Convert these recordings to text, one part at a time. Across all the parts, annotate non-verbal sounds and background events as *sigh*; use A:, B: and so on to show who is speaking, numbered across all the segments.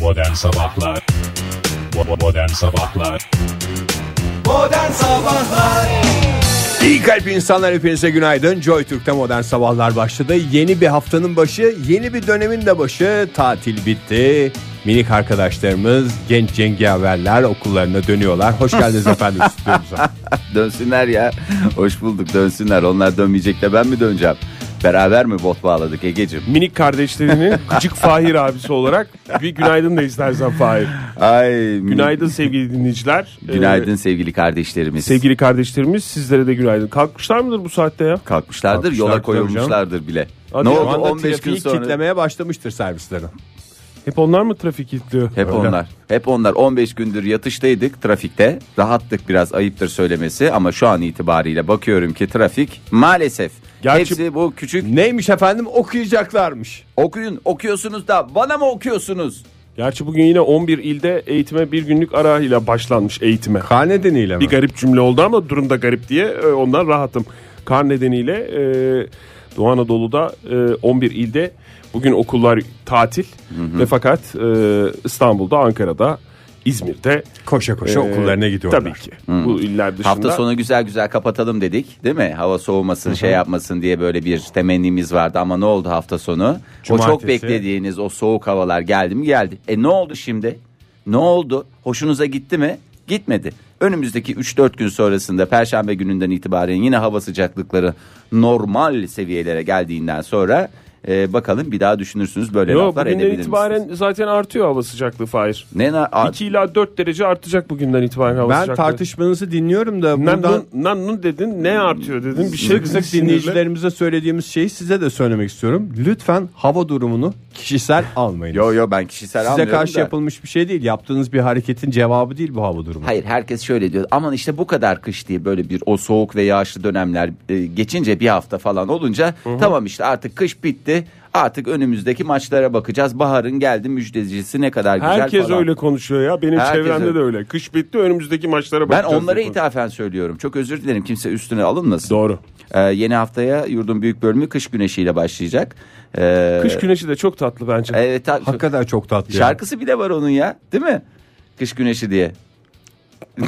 A: Modern Sabahlar Bo- Modern Sabahlar
B: İyi kalp insanlar hepinize günaydın. Joy Türk'te modern sabahlar başladı. Yeni bir haftanın başı, yeni bir dönemin de başı. Tatil bitti. Minik arkadaşlarımız, genç cengaverler okullarına dönüyorlar. Hoş
C: *laughs*
B: geldiniz efendim stüdyomuza.
D: Dönsünler ya. Hoş bulduk dönsünler. Onlar dönmeyecek de ben mi döneceğim? Beraber mi bot bağladık Ege'cim?
A: *laughs*
C: minik kardeşlerinin gıcık Fahir abisi olarak bir günaydın da istersen Fahir.
D: Ay,
C: Günaydın sevgili dinleyiciler. Ee,
D: Günaydın sevgili kardeşlerimiz.
C: sevgili kardeşlerimiz sizlere de günaydın. Kalkmışlar mıdır bu saatte ya?
D: Kalkmışlardır
B: Kalkmışlar
D: yola
B: tabii
D: koyulmuşlardır bile.
C: Hadi
D: ne
C: ya,
B: Şu
D: oldu
B: anda
D: 15 gün
B: trafiği
D: sonra?
B: kitlemeye başlamıştır servisleri.
C: Hep onlar mı trafik kilitliyor?
D: Hep
C: Öyle.
D: onlar. Hep onlar 15 gündür yatıştaydık trafikte. Rahattık biraz ayıptır söylemesi ama şu an itibariyle bakıyorum ki trafik maalesef.
C: Gerçi-
D: Hepsi bu küçük
B: Neymiş efendim okuyacaklarmış.
D: okuyun okuyorsunuz da bana mı okuyorsunuz?
C: Gerçi bugün yine 11 ilde eğitime bir günlük ara ile başlanmış eğitime.
B: Kar nedeniyle mi?
C: Bir garip cümle oldu ama durumda garip diye e, ondan rahatım. Kar nedeniyle e, Doğu Anadolu'da e, 11 ilde bugün okullar tatil ve fakat e, İstanbul'da, Ankara'da, İzmir'de
B: Koşa koşa
C: e,
B: okullarına gidiyorlar.
C: Tabii ki. Bu iller dışında.
D: Hafta sonu güzel güzel kapatalım dedik değil mi? Hava soğumasın şey yapmasın diye böyle bir temennimiz vardı ama ne oldu hafta sonu? O çok
B: Cumartesi.
D: beklediğiniz o soğuk havalar geldi mi geldi. E ne oldu şimdi? Ne oldu? Hoşunuza gitti mi? Gitmedi. Önümüzdeki 3-4 gün sonrasında perşembe gününden itibaren yine hava sıcaklıkları normal seviyelere geldiğinden sonra e, bakalım bir daha düşünürsünüz böyle
C: Yo,
D: laflar
C: bugünden
D: edebilir
C: itibaren
D: misiniz?
C: zaten artıyor hava sıcaklığı Fahir.
D: Ne na- Aa,
C: 2 ila 4 derece artacak bugünden itibaren hava
B: Ben
C: sıcaklığı.
B: tartışmanızı dinliyorum da
C: Nan-
B: buradan
C: nan- nan dedin ne artıyor dedin bir şey
B: Sık sık
C: sinirli.
B: dinleyicilerimize söylediğimiz şeyi size de söylemek istiyorum. Lütfen hava durumunu kişisel almayın.
D: Yo yo ben kişisel
B: Size
D: almıyorum
B: karşı
D: da.
B: yapılmış bir şey değil. Yaptığınız bir hareketin cevabı değil bu hava durumu.
D: Hayır herkes şöyle diyor aman işte bu kadar kış diye böyle bir o soğuk ve yağışlı dönemler e, geçince bir hafta falan olunca tamam işte artık kış bitti artık önümüzdeki maçlara bakacağız baharın geldi müjdecisi ne kadar güzel
C: Herkes
D: falan.
C: öyle konuşuyor ya. Benim
D: Herkes
C: çevremde
D: öyle.
C: de öyle. Kış bitti önümüzdeki maçlara
D: Ben
C: bakacağız.
D: onlara
C: diye konuşuyor.
D: ithafen söylüyorum çok özür dilerim kimse üstüne alınmasın.
C: Doğru.
D: Ee, yeni haftaya yurdun büyük bölümü kış güneşiyle başlayacak. Ee,
C: Kış güneşi de çok tatlı bence.
D: Evet, ta-
B: Hakikaten çok tatlı. ya.
D: şarkısı bile var onun ya değil mi? Kış güneşi diye.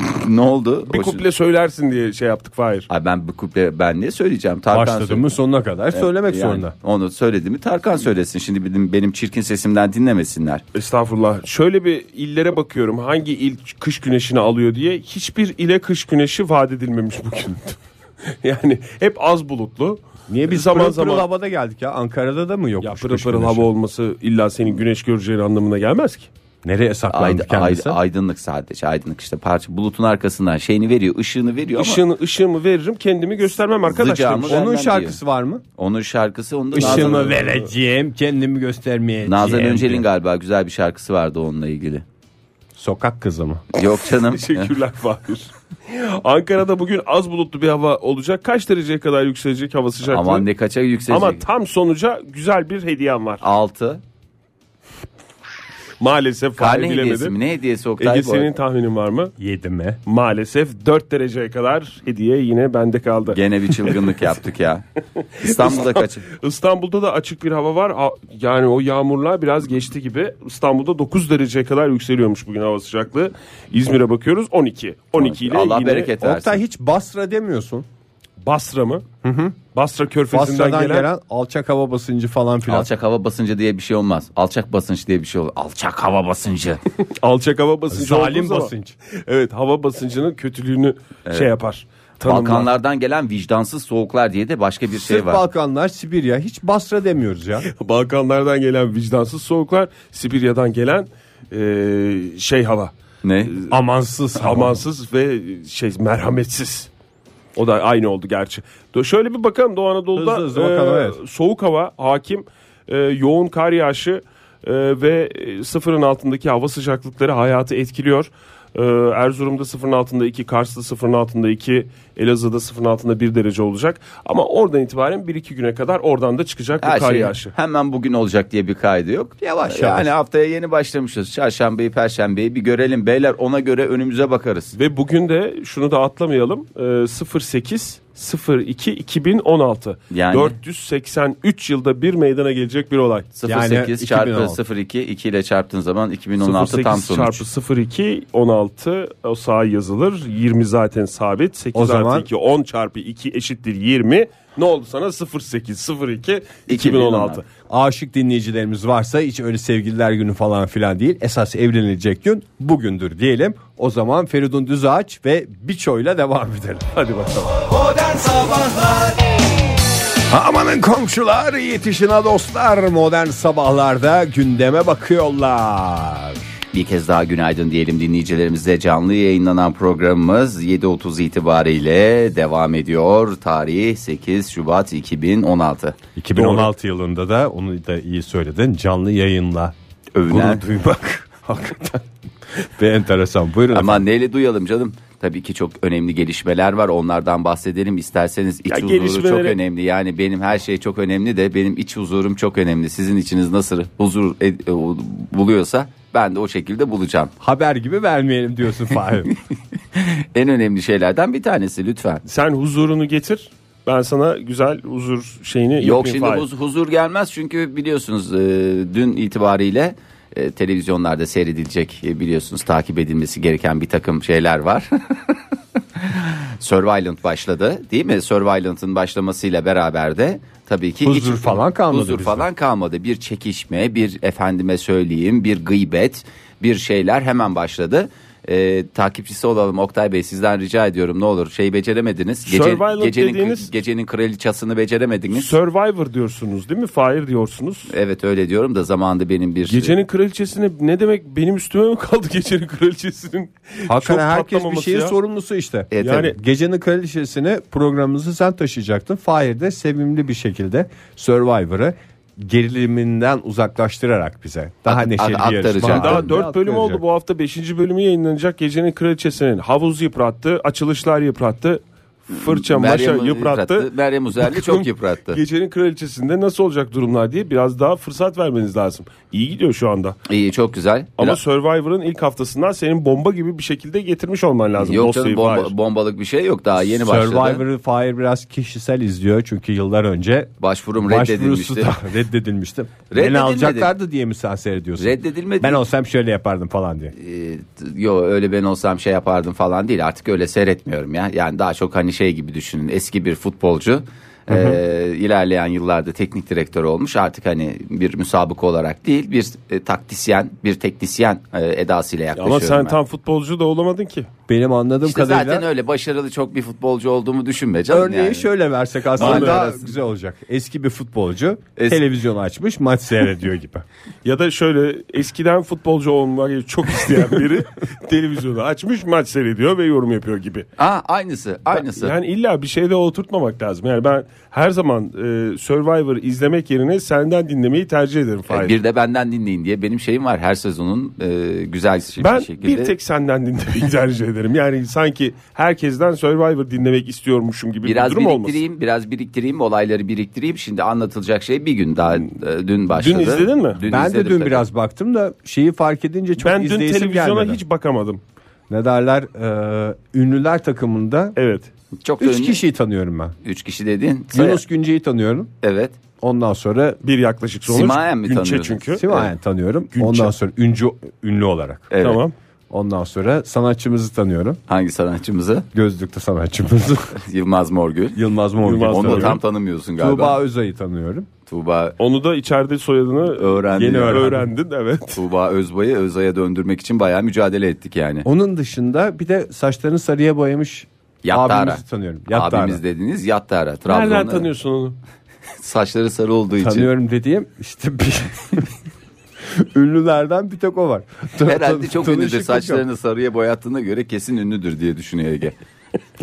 D: *laughs* ne oldu?
C: bir
D: O-
C: kuple söylersin diye şey yaptık Fahir.
D: Ay ben bir kuple ben ne söyleyeceğim? Tarkan
B: Başladı
D: söyle-
B: mı sonuna kadar söylemek
D: Yani
B: zorunda.
D: Onu söyledi mi Tarkan söylesin. Şimdi benim, benim çirkin sesimden dinlemesinler.
C: Estağfurullah. Şöyle bir illere bakıyorum. Hangi il kış güneşini alıyor diye. Hiçbir ile kış güneşi vaat edilmemiş bugün. *laughs* yani hep az bulutlu.
B: Niye biz
C: zaman
B: zaman pırıl
C: zaman
B: pırıl havada geldik ya? Ankara'da da mı yokmuş?
C: ya pırıl
B: kış
C: pırıl
B: güneşi?
C: hava olması illa senin güneş göreceğin anlamına gelmez ki.
B: Nereye saklandı
D: Ayd-
B: kendisi?
D: ayd- aydınlık sadece aydınlık işte parça bulutun arkasından şeyini veriyor ışığını veriyor ama
C: Işığını, ışığımı veririm kendimi göstermem arkadaşlar.
D: Zıcağımı
B: Onun
D: vermem
B: şarkısı var mı?
D: onun şarkısı onun da
B: Işığımı
D: Nazan,
B: vereceğim, kendimi göstermeyeceğim.
D: Nazan Öncel'in galiba güzel bir şarkısı vardı onunla ilgili.
B: Sokak kızı mı?
D: Yok
C: *laughs*
D: canım.
C: Teşekkürler Fahir. Ankara'da bugün az bulutlu bir hava olacak. Kaç dereceye kadar yükselecek hava sıcaklığı?
D: *laughs* Aman ne kaça yükselecek.
C: Ama tam sonuca güzel bir hediyem var.
D: 6.
C: Maalesef Fahir
D: Karne hediyesi mi?
C: bilemedi.
D: Ne hediyesi Oktay
C: Ege
D: bu?
C: senin tahminin var mı?
B: Yedi mi?
C: Maalesef 4 dereceye kadar hediye yine bende kaldı.
D: Gene bir
C: *laughs*
D: çılgınlık yaptık ya. İstanbul'da kaç?
C: İstanbul'da da açık bir hava var. Ha- Yani o yağmurlar biraz geçti gibi. İstanbul'da 9 dereceye kadar yükseliyormuş bugün hava sıcaklığı. İzmir'e bakıyoruz 12. 12 ile
D: Allah
C: yine
D: bereket versin.
B: Oktay hiç Basra demiyorsun.
C: Basra mı? Basra körfezinden
B: Basra'dan gelen,
C: gelen
B: alçak hava basıncı falan filan.
D: Alçak hava basıncı diye bir şey olmaz. Alçak basınç diye bir şey olur. Alçak hava basıncı.
C: Alçak hava basıncı
B: Zalim
C: olduğu zaman-
B: basınç.
C: Evet hava basıncının kötülüğünü şey yapar. Tanımlar.
D: Balkanlardan gelen vicdansız soğuklar diye de başka bir şey
B: Sırf
D: var.
B: Balkanlar, Sibirya. Hiç Basra demiyoruz *laughs* ya.
C: Balkanlardan gelen vicdansız soğuklar, Sibirya'dan gelen e, şey hava.
D: ne?
B: Amansız
C: Amansız ve şey merhametsiz. O da aynı oldu gerçi. Do- Şöyle bir bakalım Doğu Anadolu'da e,
B: Hızlı hızlı bakalım, evet.
C: soğuk hava hakim, e, yoğun kar yağışı e, ve e, sıfırın altındaki hava sıcaklıkları hayatı etkiliyor. E, Erzurum'da sıfırın altında 2, Kars'ta sıfırın altında 2, Elazığ'da sıfırın altında 1 derece olacak. Ama oradan itibaren 1-2 güne kadar oradan da çıkacak
D: Her
C: bu kar
D: şey
C: yağışı.
D: hemen bugün olacak diye bir kaydı yok.
B: Yavaş
D: Yani
B: yavaş.
D: haftaya yeni başlamışız. Çarşambayı, perşembeyi bir görelim beyler. Ona göre önümüze bakarız.
C: Ee, Ve bugün de şunu da atlamayalım. E, 08 02-2016.
D: Yani.
C: 483 yılda bir meydana gelecek bir olay.
D: 08
B: Yani
D: çarpı 02 2 ile çarptığın zaman 2016 tam
C: 08
D: sonuç.
C: çarpı 02 16 o sağ yazılır. 20 zaten sabit. 8
B: O
C: artı
B: zaman-
C: 2 10 çarpı 2 eşittir 20. Ne oldu sana? 08 02 2016.
B: Aşık dinleyicilerimiz varsa hiç öyle sevgililer günü falan filan değil. Esas evlenilecek gün bugündür diyelim. O zaman Feridun Düzağaç ve Biço'yla devam edelim.
C: Hadi bakalım.
B: Amanın komşular yetişine dostlar modern sabahlarda gündeme bakıyorlar.
D: Bir kez daha günaydın diyelim dinleyicilerimize. Canlı yayınlanan programımız 7.30 itibariyle devam ediyor. Tarih 8 Şubat 2016.
B: 2016 yılında da onu da iyi söyledin canlı yayınla
D: Övünen.
B: gurur duymak hakikaten *laughs* ve enteresan. Buyurun
D: Ama neyle duyalım canım? Tabii ki çok önemli gelişmeler var. Onlardan bahsedelim isterseniz. iç
C: Ya
D: huzuru çok
C: gelişmeleri-
D: önemli. Yani benim her şey çok önemli de benim iç huzurum çok önemli. Sizin içiniz nasıl huzur ed- e, buluyorsa ben de o şekilde bulacağım.
B: haber gibi vermeyelim
D: *laughs*
B: diyorsun Fahim.
D: En önemli şeylerden bir tanesi lütfen.
C: Sen huzurunu getir. Ben sana güzel huzur şeyini
D: Yok
C: yapayım
D: şimdi
C: Fahir.
D: huz- huzur gelmez çünkü biliyorsunuz e, dün itibariyle e, televizyonlarda seyredilecek e, biliyorsunuz takip edilmesi gereken bir takım şeyler var. *laughs* Surveillance başladı değil mi? Surveillance'ın başlamasıyla beraber de tabii ki
B: Huzur falan kalmadı
D: Huzur
B: bizde.
D: falan kalmadı. Bir çekişme, bir efendime söyleyeyim, bir gıybet, bir şeyler hemen başladı. E, takipçisi olalım Oktay Bey sizden rica ediyorum ne olur şey beceremediniz.
C: Surveillance
D: gecenin,
C: dediğiniz-
D: gecenin kraliçasını beceremediniz.
C: Survivor diyorsunuz değil mi? Fahir diyorsunuz.
D: Evet öyle diyorum da zamanında benim bir
C: Gecenin kraliçesine ne demek benim üstüme mi kaldı gecenin kraliçesinin? Çok
B: Hakikaten herkes bir
C: patlamaması
B: şeyin
C: ya.
B: sorumlusu işte.
D: E,
B: yani
C: tabii.
B: gecenin kraliçesini programımızı sen taşıyacaktın. Fahir de sevimli bir şekilde Survivor'ı geriliminden uzaklaştırarak bize daha
D: Ak-
B: neşeli
D: ak-
B: bir
D: aktaracak.
B: yarışma.
C: Daha
D: Hatta
C: 4 bölüm oldu bu hafta 5. bölümü yayınlanacak. Gecenin kraliçesinin havuz yıprattı, açılışlar yıprattı, fırça maşa
D: e, Meryem
C: yıprattı.
D: Meryem Uzerli çok yıprattı.
C: Gecenin kraliçesinde nasıl olacak durumlar diye biraz daha fırsat vermeniz lazım. İyi gidiyor şu anda.
D: İyi çok güzel.
C: Ama
D: Biraz-
C: Survivor'ın ilk haftasından senin bomba gibi bir şekilde getirmiş olman lazım.
D: yok
C: dosyayı
D: canım bomba-
C: Fahir.
D: bombalık bir şey yok daha yeni başladı.
B: Survivor'ı Fahir biraz kişisel izliyor çünkü yıllar önce
D: Başvurum
B: başvurusu
D: reddedilmişti.
B: da *laughs*
D: *laughs*
B: reddedilmişti. Beni
D: Reddedilmedi.
B: alacaklardı diye mi sen seyrediyorsun?
D: Reddedilmedi.
B: Ben olsam şöyle yapardım falan diye.
D: Ee, t- yo öyle ben olsam şey yapardım falan değil artık öyle seyretmiyorum ya. Yani daha çok hani şey gibi düşünün eski bir futbolcu. e, ilerleyen yıllarda teknik direktör olmuş artık hani bir müsabık olarak değil bir e, taktisyen bir teknisyen e, edasıyla yaklaşıyorum
C: Ama sen
D: ben.
C: tam futbolcu da olamadın ki.
B: Benim anladığım
D: İşte
B: kadarıyla
D: zaten öyle başarılı çok bir futbolcu olduğumu düşünme canım
B: Örneği
D: yani.
B: şöyle versek aslında
D: Mahalle
B: daha
D: arası.
B: güzel olacak. Eski bir futbolcu
D: Es-
B: televizyonu açmış maç seyrediyor gibi.
C: Ya da şöyle eskiden futbolcu olmayı çok isteyen
D: *laughs*
C: biri televizyonu açmış maç seyrediyor ve yorum yapıyor gibi.
D: Aa, aynısı aynısı.
C: Yani illa bir şeyde oturtmamak lazım. Yani ben her zaman e, Survivor izlemek yerine senden dinlemeyi tercih ederim Fahir.
D: E, Bir de benden dinleyin diye benim şeyim var her sezonun e, güzel şey-
C: ben
D: bir şekilde.
C: bir tek senden
D: *laughs*
C: dinlemeyi tercih ederim. Yani sanki herkesten Survivor dinlemek istiyormuşum gibi
D: biraz
C: bir durum olmasın.
D: biriktireyim, biraz biriktireyim, olayları biriktireyim. Şimdi anlatılacak şey bir gün daha e, dün başladı.
C: izledin mi?
B: *laughs* ben de
D: izledim
B: dün
D: tabii.
B: biraz baktım da şeyi fark edince çok
C: Ben dün
B: izleyisim
C: televizyona
B: gelmedi.
C: hiç bakamadım.
B: Ne derler e, ünlüler takımında
C: Evet.
D: çok da
B: üç
D: ünlü-
B: kişiyi tanıyorum ben.
D: üç kişi dedin.
B: Yunus Günce'yi tanıyorum.
D: Evet.
B: Ondan sonra
C: Bir yaklaşık sonuç.
D: Simayen mi
C: Günçe
D: tanıyorsun?
C: çünkü.
B: Simayen tanıyorum. Ondan sonra Üncü ünlü olarak.
D: Evet.
C: Tamam.
B: Ondan sonra sanatçımızı tanıyorum.
D: Hangi sanatçımızı? *laughs*
B: Gözlükte sanatçımızı.
D: Yılmaz Morgül.
B: *laughs* Yılmaz Morgül.
C: Yılmaz
D: Onu da
C: Morgül.
D: tam tanımıyorsun galiba.
B: Tuğba
D: Tuğba,
B: Özay'ı tanıyorum.
C: Onu da içeride soyadını
D: Öğrendin.
C: yeni
D: Öğrendin.
C: öğrendin. Evet.
D: Tuğba Özbay'ı Özay'a döndürmek için bayağı mücadele ettik yani.
B: Onun dışında bir de saçlarını sarıya boyamış
D: Yattara.
B: abimizi tanıyorum. Yattara.
D: Abimiz dediğiniz Yattara.
C: Nereden
D: Trabzonlu.
C: tanıyorsun onu?
D: Saçları sarı olduğu için.
B: Tanıyorum dediğim işte bir *laughs* ünlülerden bir tek o var. Tan-
D: Herhalde
B: *laughs* tan-
D: çok
B: tanışıklık
D: ünlüdür.
B: yok.
D: Saçlarını sarıya boyattığına göre kesin ünlüdür diye düşünüyor Ege.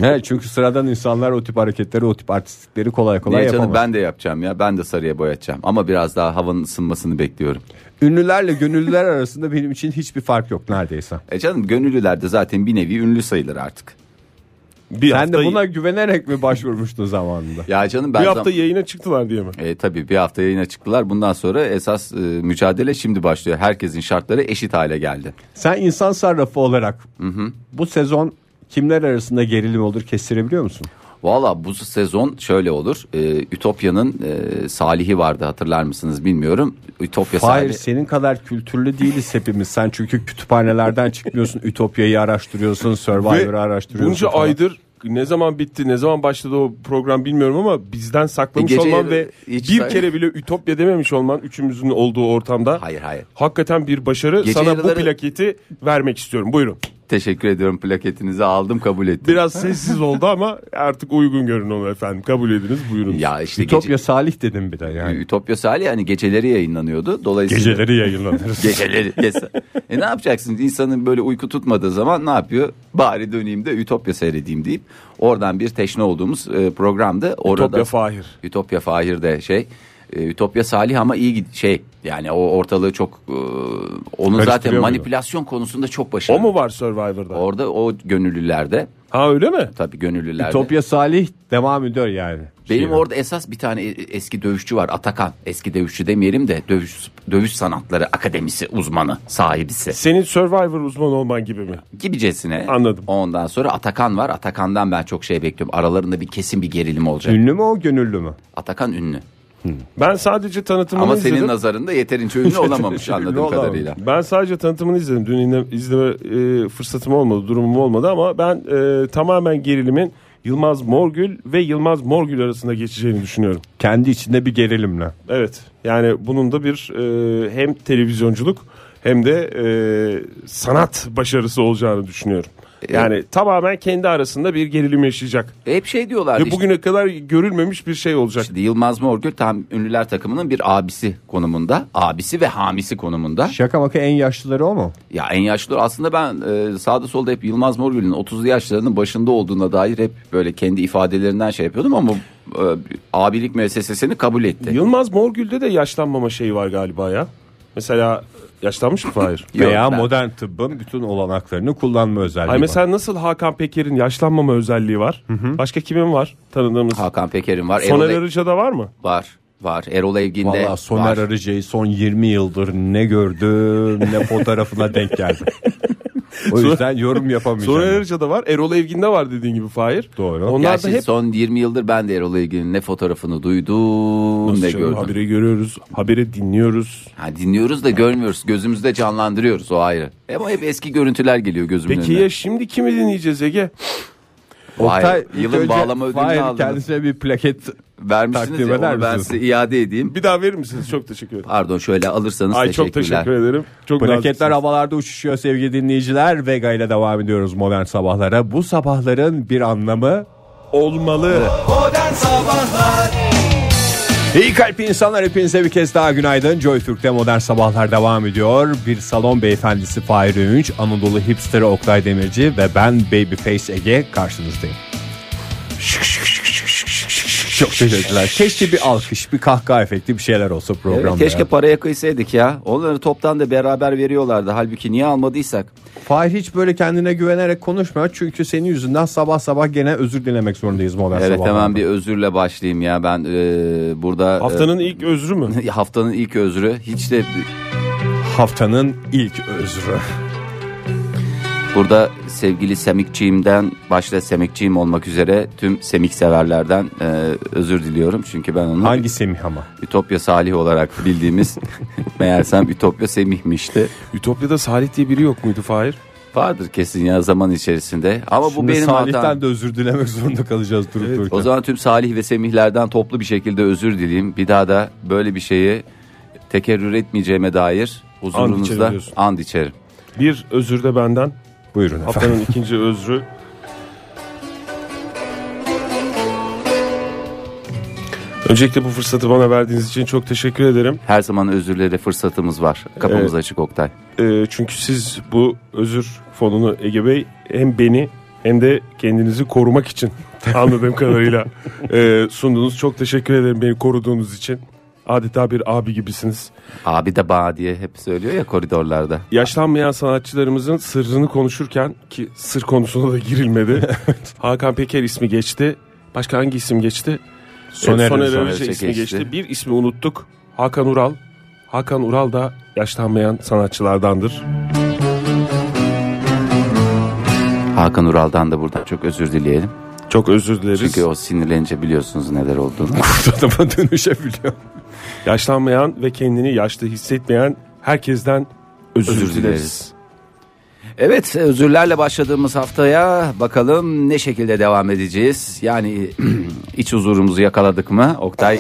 B: He, çünkü sıradan insanlar o tip hareketleri, o tip artistlikleri kolay *laughs* kolay
D: Niye
B: yapamaz.
D: canım ben de yapacağım ya. Ben de sarıya boyatacağım. Ama biraz daha havanın ısınmasını bekliyorum.
B: Ünlülerle gönüllüler arasında benim için hiçbir fark yok neredeyse.
D: E canım gönüllüler de zaten bir nevi ünlü sayılır artık.
C: Bir
B: Sen de
C: hafta-
B: buna güvenerek mi başvurmuştun zamanında?
D: Ya canım ben
C: bir hafta
D: zam-
C: yayına çıktılar diye mi?
D: E, tabii bir hafta yayına çıktılar. Bundan sonra esas e, mücadele şimdi başlıyor. Herkesin şartları eşit hale geldi.
B: Sen insan sarrafı olarak bu sezon kimler arasında gerilim olur kestirebiliyor musun?
D: Valla bu sezon şöyle olur. Ee, Ütopya'nın e, Salih'i vardı hatırlar mısınız bilmiyorum. Ütopya
B: Hayır
D: Salih.
B: senin kadar kültürlü değiliz hepimiz. Sen çünkü kütüphanelerden çıkmıyorsun. *laughs* Ütopya'yı araştırıyorsun, Survivor'ı araştırıyorsun.
C: bunca
B: falan.
C: aydır ne zaman bitti ne zaman başladı o program bilmiyorum ama bizden saklamış
D: E, gece
C: olman ve
D: hiç
C: bir
D: say-
C: kere bile ütopya dememiş olman üçümüzün olduğu ortamda
D: Hayır hayır.
C: hakikaten bir başarı.
D: Gece
C: Sana bu
D: yarıları-
C: plaketi vermek istiyorum buyurun.
D: Teşekkür ediyorum plaketinizi aldım kabul ettim.
C: Biraz sessiz oldu ama artık uygun görün onu efendim kabul ediniz buyurun.
D: Ya işte
B: Ütopya Salih dedim bir de
D: gece,
B: *laughs* yani.
D: Ütopya Salih hani geceleri yayınlanıyordu. Dolayısıyla
C: Geceleri yayınlanırız.
D: Geceleri. yes. e ne yapacaksın? İnsanın böyle uyku tutmadığı zaman ne yapıyor? Bari döneyim de Ütopya seyredeyim deyip oradan bir teşne olduğumuz e, programdı. Orada,
C: Ütopya Fahir.
D: Ütopya Fahir de şey. e, Ütopya Salih ama iyi gid- şey yani o ortalığı çok e, onun zaten
C: muydu?
D: manipülasyon konusunda çok başarılı.
C: o mu var Survivor'da?
D: Orada o gönüllülerde
C: Ha öyle mi?
D: tabii gönüllülerde.
B: Ütopya Salih devam ediyor yani.
D: Benim
B: Şeyine.
D: orada esas bir tane e- eski dövüşçü var Atakan. Eski dövüşçü demeyelim de dövüş dövüş sanatları akademisi uzmanı sahibisi.
C: Senin Survivor uzmanı olman gibi mi?
D: gibicesine.
C: Anladım.
D: Ondan sonra Atakan var. Atakan'dan ben çok şey bekliyorum. Aralarında bir kesin bir gerilim olacak.
B: Ünlü mü o gönüllü mü?
D: Atakan ünlü.
C: Ben sadece tanıtımını
D: Ama
C: izledim.
D: senin nazarında yeterince ünlü olamamış
B: Ünlü
D: anladığım
B: olamamış.
D: kadarıyla.
C: Ben sadece tanıtımını izledim. Dün inle- izleme e, fırsatım olmadı, durumum olmadı ama ben e, tamamen gerilimin Yılmaz Morgül ve Yılmaz Morgül arasında geçeceğini düşünüyorum.
B: Kendi içinde bir gerilimle.
C: Evet. Yani bunun da bir e, hem televizyonculuk hem de e, sanat başarısı olacağını düşünüyorum. Yani tamamen kendi arasında bir gerilim yaşayacak.
D: Hep şey diyorlar.
C: Ve
D: işte,
C: bugüne kadar görülmemiş bir şey olacak.
D: işte Yılmaz Morgül tam ünlüler takımının bir abisi konumunda. Abisi ve hamisi konumunda.
B: Şaka maka en yaşlıları o mu?
D: Ya en yaşlı aslında ben e, sağda solda hep Yılmaz Morgül'ün 30'lu yaşlarının başında olduğuna dair hep böyle kendi ifadelerinden şey yapıyordum ama e, abilik müessesesini kabul etti.
C: Yılmaz Morgül'de de yaşlanmama şeyi var galiba ya. Mesela yaşlanmış mı Fahir?
D: Yok,
B: Veya
D: ben-
B: modern tıbbın bütün olanaklarını kullanma özelliği
C: Ay
B: var.
C: mesela nasıl Hakan Peker'in yaşlanmama özelliği var? Başka kimin var tanıdığımız?
D: Hakan Peker'in var. Erol,
C: Soner
D: E-
C: Arıca'da var mı?
D: var. Var. Erol Evgin'de
B: Valla Soner
D: var.
B: Arıcı'yı son 20 yıldır ne gördüm ne fotoğrafına denk geldim. O yüzden yorum yapamayacağım.
C: Soner Arıca'da var. Erol Evgin'de var dediğin gibi Fahir.
B: Doğru.
C: Onlar da
D: Gerçi
C: hep
D: son 20 yıldır ben de Erol Evgin'in ne fotoğrafını duydum
C: Nasıl
D: ne
B: şey,
C: canım?
D: gördüm.
C: haberi görüyoruz, haberi dinliyoruz.
D: Ha, dinliyoruz da görmüyoruz. Gözümüzde canlandırıyoruz o ayrı. Ama hep eski görüntüler geliyor gözümün
C: Peki
D: önüne.
C: ya şimdi kimi dinleyeceğiz Ege?
D: Vay,
B: Oktay, ilk
D: yılın
B: önce
D: bağlama ödülünü
B: Fahir
D: aldınız.
B: kendisine bir plaket
D: Vermişsiniz
B: takdim
D: ya
B: eder
D: onu ben
B: misiniz?
D: size iade edeyim.
C: Bir daha verir misiniz? Çok teşekkür ederim.
D: Pardon şöyle alırsanız
C: Ay çok
D: teşekkürler.
C: teşekkür ederim. Çok
B: Plaketler
C: naziksiniz.
B: havalarda uçuşuyor sevgili dinleyiciler. Vega ile devam ediyoruz modern sabahlara. Bu sabahların bir anlamı
C: olmalı.
B: İyi kalp insanlar hepinize bir kez daha günaydın. Joy Türk'te modern sabahlar devam ediyor. Bir salon beyefendisi Fahir Öğünç, Anadolu hipster Oktay Demirci ve ben Babyface Ege karşınızdayım. Çok teşekkürler. Keşke bir alkış, bir kahkaha efekti bir şeyler olsa
D: Evet,
B: programda.
D: keşke
B: ya.
D: paraya kıysaydık ya. Onları toptan da beraber veriyorlardı. Halbuki niye almadıysak.
B: Fahir hiç böyle kendine güvenerek konuşmuyor. Çünkü senin yüzünden sabah sabah gene özür dilemek zorundayız modern
D: Evet
B: sabahlarda.
D: hemen bir özürle başlayayım ya. Ben e, burada e,
C: Haftanın ilk özrü mü?
D: *laughs* haftanın ilk özrü hiç de
B: Haftanın ilk özrü.
D: Burada sevgili Semikçiğimden başta Semikçiğim olmak üzere tüm Semik severlerden e, özür diliyorum. Çünkü ben onu
B: Hangi Semih ama?
D: Ütopya Salih olarak
C: *laughs*
D: bildiğimiz meğersem Ütopya Semih'mişti.
C: Ütopya'da Salih diye biri yok muydu Fahir?
D: Vardır kesin ya zaman içerisinde. Ama bu
B: Şimdi
D: benim
B: Salih'ten
D: hatam.
B: de özür dilemek zorunda kalacağız durup dururken.
D: O zaman tüm Salih ve Semih'lerden toplu bir şekilde özür dileyim. Bir daha da böyle bir şeyi tekerrür etmeyeceğime dair
C: içerim
D: huzurunuzda
C: diyorsun.
D: and içerim.
C: Bir özür de benden.
B: Buyurun efendim.
C: Haftanın ikinci özrü. Öncelikle bu fırsatı bana verdiğiniz için çok teşekkür ederim.
D: Her zaman özürlere fırsatımız var. Kapımız
C: Evet.
D: açık Oktay.
C: Ee, çünkü siz bu özür fonunu Ege Bey hem beni hem de kendinizi korumak için *laughs* anladığım kadarıyla e, sundunuz. Çok teşekkür ederim beni koruduğunuz için. Adeta bir abi gibisiniz.
D: Abi de bağ diye hep söylüyor ya koridorlarda.
C: yaşlanmayan sanatçılarımızın sırrını konuşurken ki sır konusuna da
D: *laughs*
C: girilmedi. Hakan Peker ismi geçti. Başka hangi isim geçti?
B: Soner
C: Ee,
B: Arıca.
C: Arıca
D: Arıca
C: ismi geçti.
D: geçti.
C: Bir ismi unuttuk. Hakan Ural. Hakan Ural da yaşlanmayan sanatçılardandır.
D: Hakan Ural'dan da buradan çok özür dileyelim.
C: Çok özür dileriz.
D: Çünkü o sinirlenince biliyorsunuz neler olduğunu.
B: Adama *laughs* dönüşebiliyor.
C: Yaşlanmayan ve kendini yaşlı hissetmeyen herkesten özür,
D: Özür
C: dileriz.
D: dileriz. Evet özürlerle başladığımız haftaya bakalım ne şekilde devam edeceğiz. Yani *clears throat* iç huzurumuzu yakaladık mı Oktay?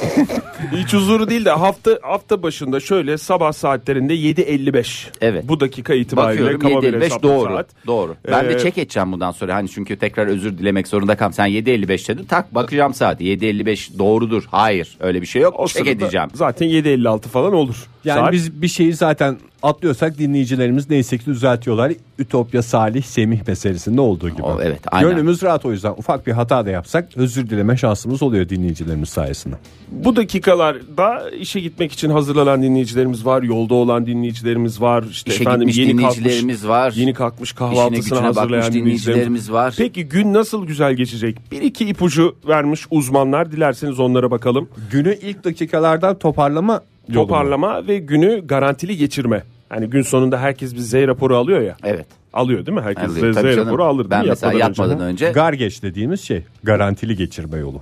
C: İç huzuru değil de hafta hafta başında şöyle sabah saatlerinde 7.55.
D: Evet.
C: Bu dakika itibariyle
D: Bakıyorum
C: kaba bir
D: 7.55
C: hesaplı
D: doğru.
C: saat.
D: Doğru. Ben
C: Ee,
D: de çek edeceğim bundan sonra. Hani çünkü tekrar özür dilemek zorunda kalm. Sen 7.55 dedin. Tak bakacağım saati. 7.55 doğrudur. Hayır öyle bir şey yok.
C: O
D: çek
C: sırada
D: edeceğim.
C: Zaten 7.56 falan olur.
B: Yani
C: Saat.
B: biz bir şeyi zaten atlıyorsak dinleyicilerimiz neyse ki düzeltiyorlar. Ütopya Salih Semih meselesinde olduğu gibi.
D: O, evet, aynen.
B: Gönlümüz rahat o yüzden ufak bir hata da yapsak özür dileme şansımız oluyor dinleyicilerimiz sayesinde.
C: Bu dakikalarda işe gitmek için hazırlanan dinleyicilerimiz var, yolda olan dinleyicilerimiz var. İşte
D: İşe
C: efendim
D: gitmiş
C: yeni
D: dinleyicilerimiz
C: kalkmış,
D: var.
C: Yeni kalkmış
D: İşine
C: kahvaltısını
D: gücüne bakmış
C: hazırlayan dinleyicilerimiz.
D: dinleyicilerimiz var.
C: Peki gün nasıl güzel geçecek? Bir iki ipucu vermiş uzmanlar. Dilerseniz onlara bakalım.
B: Günü ilk dakikalardan toparlama yolu mu?
C: Toparlama ve günü garantili geçirme. Hani gün sonunda herkes bir Z raporu alıyor ya.
D: Evet.
C: Alıyor değil mi? Herkes
D: Alıyor.
C: Z,
D: Tabii
C: Z
D: canım.
C: raporu alır değil
D: Ben
C: mi?
D: mesela yatmadan önce.
B: Gargeç dediğimiz şey garantili geçirme yolu.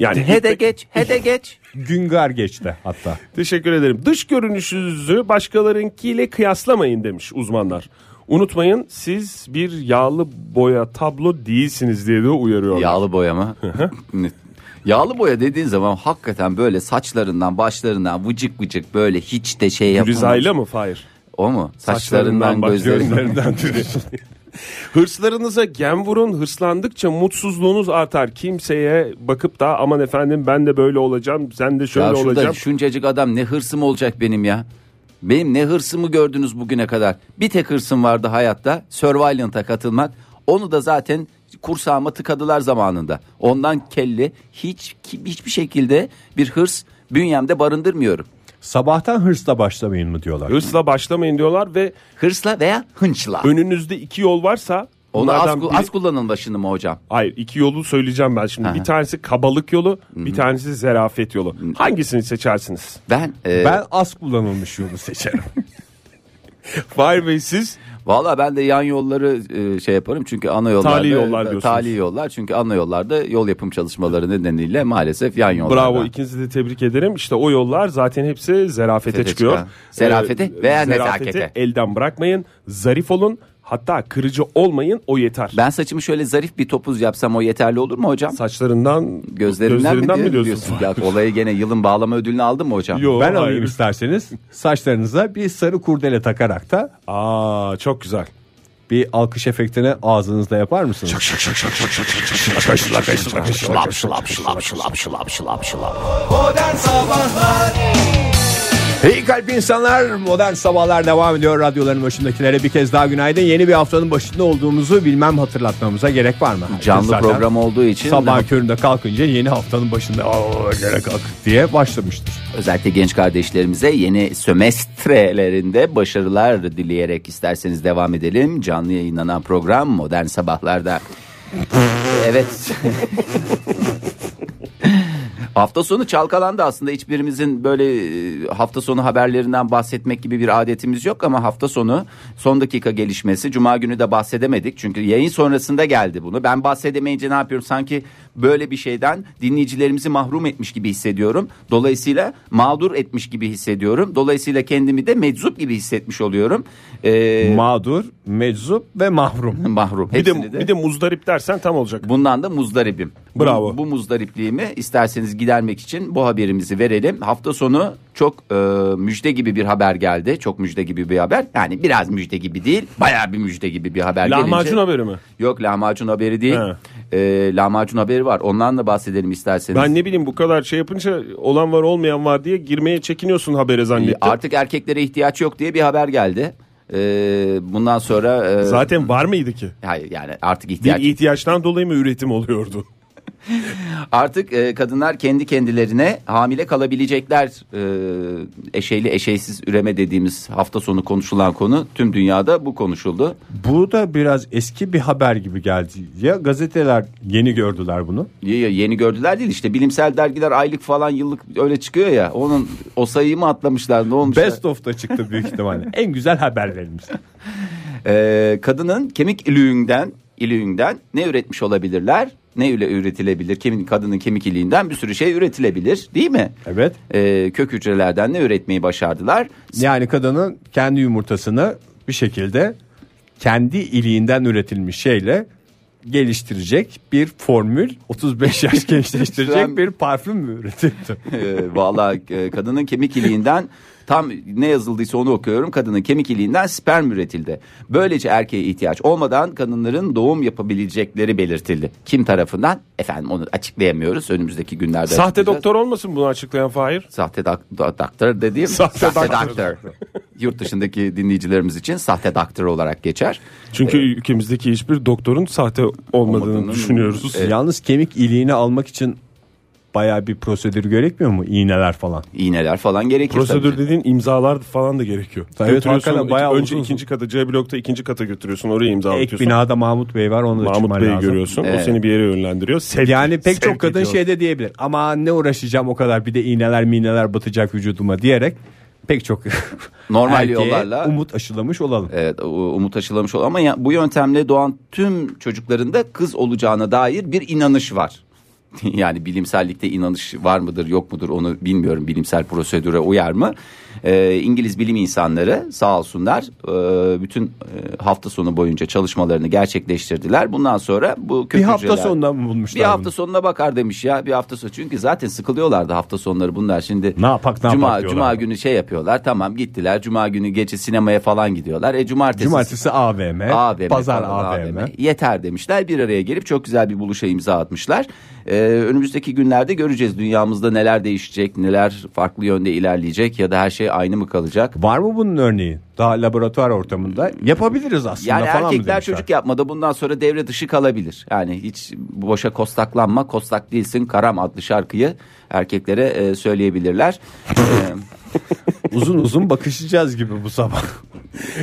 C: Yani
D: he de geç, he
C: *laughs*
D: de geç.
B: Gün gargeçte hatta.
C: Teşekkür ederim. Dış görünüşünüzü başkalarınkiyle kıyaslamayın demiş uzmanlar. Unutmayın siz bir yağlı boya tablo değilsiniz diye de uyarıyorlar.
D: Yağlı boya mı? *laughs* Yağlı boya dediğin zaman hakikaten böyle saçlarından başlarından vıcık vıcık böyle hiç de şey yapmamış.
C: Rizayla mı? Hayır.
D: O mu?
C: Saçlarından
D: Saçlarından
C: bak,
D: gözlerinden.
C: gözlerinden
D: *laughs*
C: türü. Hırslarınıza gem vurun hırslandıkça mutsuzluğunuz artar. Kimseye bakıp da aman efendim ben de böyle olacağım sen de şöyle
D: Ya şurada
C: olacağım.
D: şuncacık adam ne hırsım olacak benim ya. Benim ne hırsımı gördünüz bugüne kadar. Bir tek hırsım vardı hayatta. Survivaliant'a katılmak. Onu da zaten kursağıma tıkadılar zamanında. Ondan kelli hiç ki- hiçbir şekilde bir hırs bünyemde barındırmıyorum.
B: Sabahtan hırsla başlamayın mı diyorlar.
C: Hırsla başlamayın diyorlar ve
D: Hırsla veya hınçla.
C: önünüzde iki yol varsa
D: Onu az,
C: bunlardan
D: ku-
C: biri-
D: az kullanın başını mı hocam?
C: Hayır iki yolu söyleyeceğim ben şimdi. Bir tanesi kabalık yolu, bir tanesi zerafet yolu. Hangisini seçersiniz? *laughs*
D: Ben, e,
B: Ben az kullanılmış yolu seçerim.
C: Fahir Bey siz
D: Valla ben de yan yolları e, şey yaparım çünkü ana yollarda
C: Tali yollar diyorsunuz.
D: tali yollar çünkü ana yollarda yol yapım çalışmaları nedeniyle maalesef yan yollar.
C: bravo ikinizi de tebrik ederim. İşte o yollar zaten hepsi zerafete
D: Zerafete
C: çıkıyor.
D: çıkan. Zerafete
C: Ee,
D: veya
C: zerafeti
D: nezakete.
C: elden bırakmayın. Zarif olun. Hatta kırıcı olmayın o yeter.
D: Ben saçımı şöyle zarif bir topuz yapsam o yeterli olur mu hocam?
C: Saçlarından
D: Gözlerinden, mi, diyor-
C: diyorsun?
D: diyorsun? Ya olayı gene yılın bağlama ödülünü aldın mı hocam?
C: Yo,
B: ben
C: hayır.
B: alayım isterseniz saçlarınıza bir sarı kurdele takarak da
C: Aa çok güzel.
B: bir alkış efektini ağzınızda yapar mısınız? İyi kalp insanlar modern sabahlar devam ediyor radyoların başındakilere bir kez daha günaydın yeni bir haftanın başında olduğumuzu bilmem hatırlatmamıza gerek var mı?
D: Canlı
B: Zaten
D: program olduğu için
B: sabah köründe kalkınca yeni haftanın başında "Aa, gene kalk diye başlamıştır.
D: özellikle genç kardeşlerimize yeni sömestrelerinde başarılar dileyerek isterseniz devam edelim. Canlı yayınlanan program Modern Sabahlar'da. evet. *laughs* Hafta sonu çalkalandı aslında hiçbirimizin böyle e, hafta sonu haberlerinden bahsetmek gibi bir adetimiz yok ama hafta sonu son dakika gelişmesi cuma günü de bahsedemedik çünkü yayın sonrasında geldi bunu ben bahsedemeyince ne yapıyorum sanki böyle bir şeyden dinleyicilerimizi mahrum etmiş gibi hissediyorum dolayısıyla mağdur etmiş gibi hissediyorum dolayısıyla kendimi de meczup gibi hissetmiş oluyorum Ee,
B: Mağdur, meczup ve mahrum.
D: mahrum
C: Bir de,
D: Hepsini
C: bir de muzdarip dersen tam olacak.
D: Bundan da muzdaribim.
C: Bravo.
D: Bu, bu muzdaripliğimi isterseniz gidermek için bu haberimizi verelim. Hafta sonu çok e, müjde gibi bir haber geldi. Çok müjde gibi bir haber. Yani biraz müjde gibi değil. Bayağı bir müjde gibi bir haber
C: Lahmacun
D: gelince.
C: haberi mi?
D: Yok lahmacun haberi değil.
C: He.
D: E, lahmacun haberi var. Ondan da bahsedelim isterseniz.
C: Ben ne bileyim bu kadar şey yapınca olan var olmayan var diye girmeye çekiniyorsun habere
D: E,
C: zannettim.
D: Artık erkeklere ihtiyaç yok diye bir haber geldi. E, bundan sonra... e,
C: Zaten var mıydı ki?
D: Hayır yani artık
C: Bir
D: ihtiyaç
C: ihtiyaçtan dolayı mı üretim oluyordu?
D: Artık e, kadınlar kendi kendilerine hamile kalabilecekler. E, eşeyli eşeysiz üreme dediğimiz hafta sonu konuşulan konu tüm dünyada bu konuşuldu.
B: Bu da biraz eski bir haber gibi geldi. Ya gazeteler yeni gördüler bunu.
D: Y- y- Yeni gördüler değil işte bilimsel dergiler aylık falan yıllık öyle çıkıyor ya. Onun o sayıyı mı atlamışlar ne olmuş?
B: Best of'ta *laughs* çıktı büyük ihtimalle. en güzel haberlerimiz.
D: E, kadının kemik ilüğünden iliğinden ne üretmiş olabilirler? Ne ile üretilebilir? Kimin kadının kemik iliğinden bir sürü şey üretilebilir, değil mi?
B: Evet.
D: Ee, kök hücrelerden ne üretmeyi başardılar?
B: Yani kadının kendi yumurtasını bir şekilde kendi iliğinden üretilmiş şeyle geliştirecek bir formül 35 *laughs* yaş
D: Şu
B: gençleştirecek
D: an-
B: bir parfüm mü *laughs* üretildi?
D: Ee, Valla e, kadının kemik iliğinden tam ne yazıldıysa onu okuyorum. Kadının kemik iliğinden sperm üretildi. Böylece erkeğe ihtiyaç olmadan kadınların doğum yapabilecekleri belirtildi. Kim tarafından? Efendim onu açıklayamıyoruz. Önümüzdeki günlerde
C: Sahte
D: açıklayacağız.
C: doktor olmasın bunu açıklayan Fahir?
D: Sahte dak- da- doktor dediğim
C: Sahte doktor.
D: Yurt dışındaki dinleyicilerimiz için sahte doktor olarak geçer.
C: Çünkü ülkemizdeki hiçbir doktorun sahte olmadığını
D: Olmadığını-
C: düşünüyoruz.
B: Yalnız kemik iliğini almak için baya bir prosedür gerekmiyor mu? İğneler falan.
D: İğneler falan gerekir.
C: Prosedür
D: tabii.
C: dediğin imzalar falan da gerekiyor.
B: Evet,
C: Götürüyorsun,
B: hakikaten bayağı
C: önce
B: uzun-
C: ikinci kata C blokta ikinci kata götürüyorsun oraya
B: Ek
C: imzalatıyorsun.
B: binada Mahmut Bey var onu da
C: Mahmut
B: çıkman
C: Bey'i
B: lazım.
C: görüyorsun.
D: Evet.
C: O seni bir yere yönlendiriyor. Sevk-
B: Yani pek
C: sevk
B: çok kadın şey-
C: ediyor.
B: şeyde diyebilir. Ama ne uğraşacağım o kadar bir de iğneler mineler batacak vücuduma diyerek pek çok
D: *laughs* Normal
B: erkeğe
D: yollarla-
B: umut aşılamış olalım.
D: Evet, o- umut aşılamış ol ama ya, bu yöntemle doğan tüm çocuklarında kız olacağına dair bir inanış var. *laughs* Yani bilimsellikte inanış var mıdır yok mudur onu bilmiyorum bilimsel prosedüre uyar mı? Ee, İngiliz bilim insanları sağ olsunlar e, bütün e, hafta sonu boyunca çalışmalarını gerçekleştirdiler. Bundan sonra bu kök
B: Bir hafta
D: hücreler-
B: sonunda mı bulmuşlar
D: bir
B: bunu?
D: hafta sonuna bakar demiş ya bir hafta sonu çünkü zaten sıkılıyorlardı hafta sonları bunlar şimdi
B: Ne yapak, ne
D: cuma
B: yapak diyorlar.
D: cuma günü şey yapıyorlar tamam gittiler cuma günü gece sinemaya falan gidiyorlar e cumartesi
B: Cumartesi AVM,
D: AVM,
B: pazar
D: falan,
B: AVM.
D: yeter demişler bir araya gelip çok güzel bir buluşa imza atmışlar Ee, önümüzdeki günlerde göreceğiz dünyamızda neler değişecek neler farklı yönde ilerleyecek ya da her şey aynı mı kalacak
B: Var mı bunun örneği? Daha laboratuvar ortamında yapabiliriz aslında
D: Yani
B: falan mı
D: erkekler
B: demişler?
D: çocuk yapmada bundan sonra devre dışı kalabilir. Yani hiç boşa kostaklanma, kostak değilsin Karam adlı şarkıyı erkeklere e,
B: *laughs*
D: söyleyebilirler.
B: *laughs*
D: E,
B: Uzun uzun bakışacağız gibi
D: *laughs*
B: bu sabah.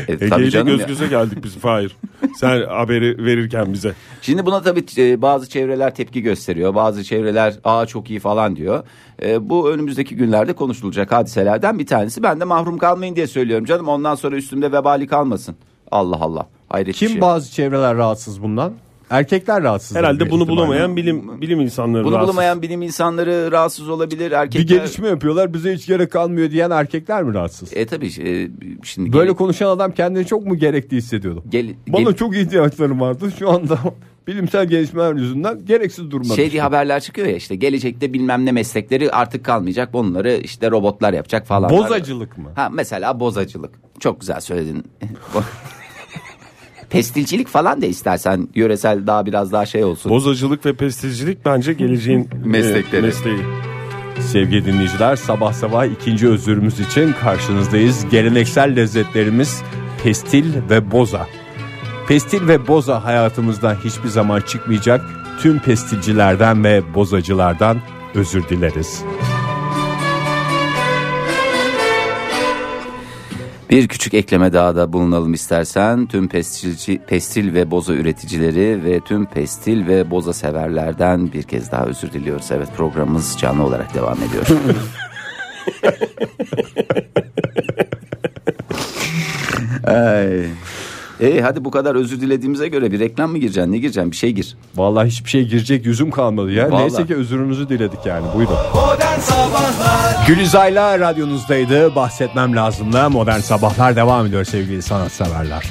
D: E, e,
C: Ege
D: tabii
C: ile
D: canım
C: göz
D: ya.
C: göze geldik biz Fahir. Sen haberi verirken bize.
D: Şimdi buna tabii e, bazı çevreler tepki gösteriyor. Bazı çevreler aa çok iyi falan diyor. E, bu önümüzdeki günlerde konuşulacak hadiselerden bir tanesi. Ben de mahrum kalmayın diye söylüyorum canım. Ondan sonra üstümde vebali kalmasın. Allah Allah. Hayret bir
B: Kim
D: şey.
B: bazı çevreler rahatsız bundan? Erkekler rahatsız.
C: Herhalde
B: büyük
C: bunu
B: ihtimalle.
C: bulamayan bilim bilim insanları
D: Bunu
C: rahatsız.
D: bulamayan bilim insanları rahatsız olabilir.
B: bir
D: Erkekler...
B: gelişme yapıyorlar bize hiç gerek kalmıyor diyen erkekler mi rahatsız?
D: E tabii e, şimdi
B: Böyle konuşan adam kendini çok mu gerekli hissediyordu?
D: Gel,
B: Bana
D: gel-
B: çok ihtiyaçlarım vardı şu anda *laughs* bilimsel gelişmeler yüzünden gereksiz duruma
D: şey
B: düştüm.
D: diye haberler çıkıyor ya işte gelecekte bilmem ne meslekleri artık kalmayacak. Bunları işte robotlar yapacak falan.
B: Bozacılık mı?
D: Ha mesela bozacılık. Çok güzel söyledin. *laughs* Pestilcilik falan da istersen yöresel daha biraz daha şey olsun.
C: Bozacılık ve pestilcilik bence
D: *laughs*
C: geleceğin e,
D: Meslekleri.
C: mesleği.
B: Sevgili dinleyiciler sabah sabah ikinci özürümüz için karşınızdayız. Geleneksel lezzetlerimiz pestil ve boza. Pestil ve boza hayatımızdan hiçbir zaman çıkmayacak. Tüm pestilcilerden ve bozacılardan özür dileriz.
D: Bir küçük ekleme daha da bulunalım istersen. Tüm pestilci, pestil ve boza üreticileri ve tüm pestil ve boza severlerden bir kez daha özür diliyoruz. Evet programımız canlı olarak devam ediyor. Ay. E, hadi bu kadar özür dilediğimize göre bir reklam mı gireceksin? Ne gireceksin? Bir şey gir.
B: Vallahi hiçbir şey girecek yüzüm kalmadı ya.
D: Vallahi.
B: Neyse ki özürünüzü diledik yani. Buyurun. Gülizay'la radyonuzdaydı. Bahsetmem lazım da modern sabahlar devam ediyor sevgili sanatseverler.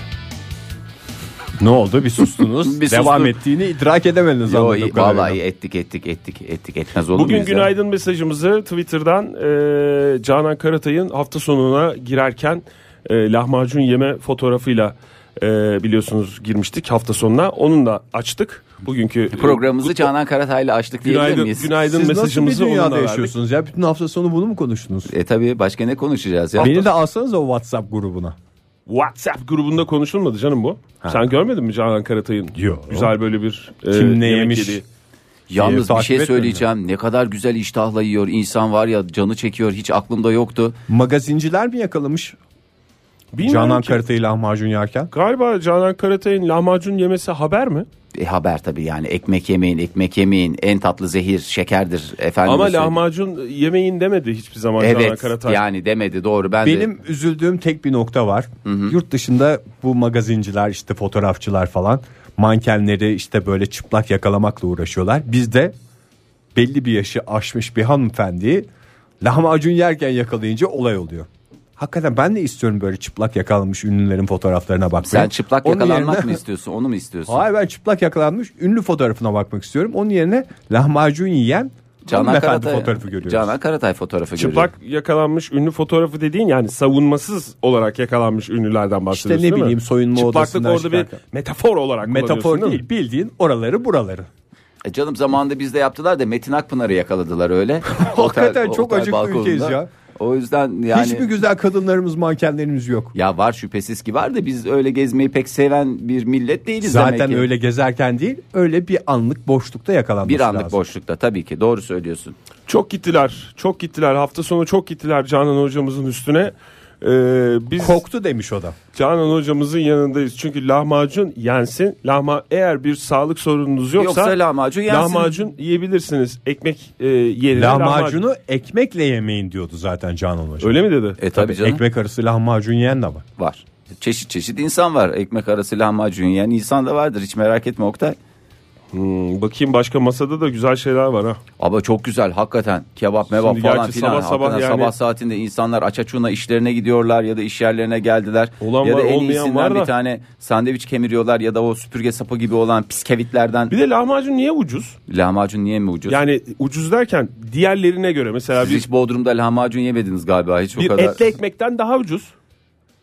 B: Ne oldu? *laughs* Bir sustunuz.
D: Bir
B: devam
D: sustum.
B: ettiğini idrak edemediniz.
D: Yo,
B: anladığım
D: iyi,
B: kadarıyla.
D: vallahi ettik ettik ettik ettik etmez olur
C: Bugün
D: muyuz ya?
C: günaydın mesajımızı Twitter'dan e, Canan Karatay'ın hafta sonuna girerken e, lahmacun yeme fotoğrafıyla e, biliyorsunuz girmiştik hafta sonuna. Onunla açtık. Bugünkü
D: Programımızı Canan Karatay'la açtık E, diyebilir
C: günaydın,
D: miyiz?
C: günaydın
B: Siz nasıl bir
C: mesajımızı onunla
B: dünyada
C: verdik.
B: yaşıyorsunuz ya? Bütün hafta sonu bunu mu konuştunuz?
D: E tabii başka ne konuşacağız ya?
B: Beni de alsanız o WhatsApp grubuna.
C: WhatsApp grubunda konuşulmadı canım bu. Sen görmedin mi Canan Karatay'ın?
B: Yok.
C: Güzel böyle bir e,
B: Kim ne
C: yemek
B: yemiş?
C: yediği.
B: Şeyi
D: Yalnız bir
B: Ee, takip
D: şey
B: etmiyor
D: söyleyeceğim. Ne kadar güzel iştahla yiyor insan var ya canı çekiyor hiç aklımda yoktu.
B: Magazinciler mi yakalamış
C: Bilmiyorum
B: Canan
C: ki.
B: Karatay'ı lahmacun yerken?
C: Galiba Canan Karatay'ın lahmacun yemesi haber mi?
D: E, haber tabii yani ekmek yemeyin ekmek yemeyin en tatlı zehir şekerdir efendim.
C: Ama lahmacun yemeyin demedi hiçbir zaman Canan
D: Evet
C: Karatay.
D: yani demedi doğru ben de.
B: Benim üzüldüğüm tek bir nokta var. Yurt dışında bu magazinciler işte fotoğrafçılar falan mankenleri işte böyle çıplak yakalamakla uğraşıyorlar. Biz de belli bir yaşı aşmış bir hanımefendiyi lahmacun yerken yakalayınca olay oluyor. Hakikaten ben de istiyorum böyle çıplak yakalanmış ünlülerin fotoğraflarına bakmayı.
D: Sen çıplak
B: Onun
D: yakalanmak
B: yerine-
D: mı istiyorsun? Onu mu istiyorsun?
B: *laughs* Hayır ben çıplak yakalanmış ünlü fotoğrafına bakmak istiyorum. Onun yerine lahmacun yiyen
D: Canan
B: hanımefendi
D: Karatay
B: fotoğrafı görüyoruz.
D: Canan Karatay fotoğrafı
C: Çıplak
D: görüyorum.
C: yakalanmış ünlü fotoğrafı dediğin yani savunmasız olarak yakalanmış ünlülerden bahsediyorsun
B: ne
C: değil mi?
B: bileyim, soyunma odasından
C: Çıplaklık orada bir
B: çıkarken.
C: metafor olarak
B: Metafor
C: kullanıyorsun
B: değil,
C: mi?
B: bildiğin oraları buraları.
D: E canım zamanında bizde yaptılar da Metin Akpınar'ı yakaladılar
B: *laughs*
D: öyle.
B: Hakikaten
D: Otel-
B: çok
D: otel
B: acıklı
D: balkonunda.
B: ülkeyiz ya.
D: O yüzden yani
B: Hiç mi güzel kadınlarımız mankenlerimiz yok?
D: ya var şüphesiz ki var da biz öyle gezmeyi pek seven bir millet değiliz
B: Zaten
D: demek ki.
B: öyle gezerken değil öyle bir anlık boşlukta yakalanması
D: Bir anlık
B: lazım.
D: boşlukta tabii ki doğru söylüyorsun.
C: Çok gittiler. Çok gittiler. Hafta sonu çok gittiler Canan hocamızın üstüne. Ee, biz
B: Koktu demiş o da.
C: Canan hocamızın yanındayız. Çünkü lahmacun yensin. Lahma eğer bir sağlık sorununuz yoksa,
D: Yoksa lahmacun yensin.
C: lahmacun yiyebilirsiniz. Ekmek e, yerine
B: Lahmacunu
C: lahmacun.
B: ekmekle yemeyin diyordu zaten Canan Hoca.
C: Öyle mi dedi?
D: E tabii canım
B: Ekmek arası lahmacun yiyen de var.
D: var. Çeşit çeşit insan var. Ekmek arası lahmacun yiyen insan da vardır. Hiç merak etme Oktay.
C: Hmm, bakayım başka masada da güzel şeyler var ha.
D: Ama çok güzel hakikaten kebap mebap
C: Şimdi
D: falan
C: gerçi
D: filan.
C: sabah sabah
D: Hakikaten
C: yani-
D: sabah saatinde insanlar açaçuna işlerine gidiyorlar ya da iş yerlerine geldiler.
C: Olan
D: ya da
C: var,
D: en
C: olmayan
D: iyisinden
C: var da.
D: bir tane sandviç kemiriyorlar ya da o süpürge sapı gibi olan piskevitlerden.
C: Bir de lahmacun niye ucuz?
D: Lahmacun niye mi ucuz?
C: Yani ucuz derken diğerlerine göre mesela
D: Siz
C: bir,
D: hiç Bodrum'da lahmacun yemediniz galiba hiç
C: bir
D: o kadar.
C: etli ekmekten daha ucuz.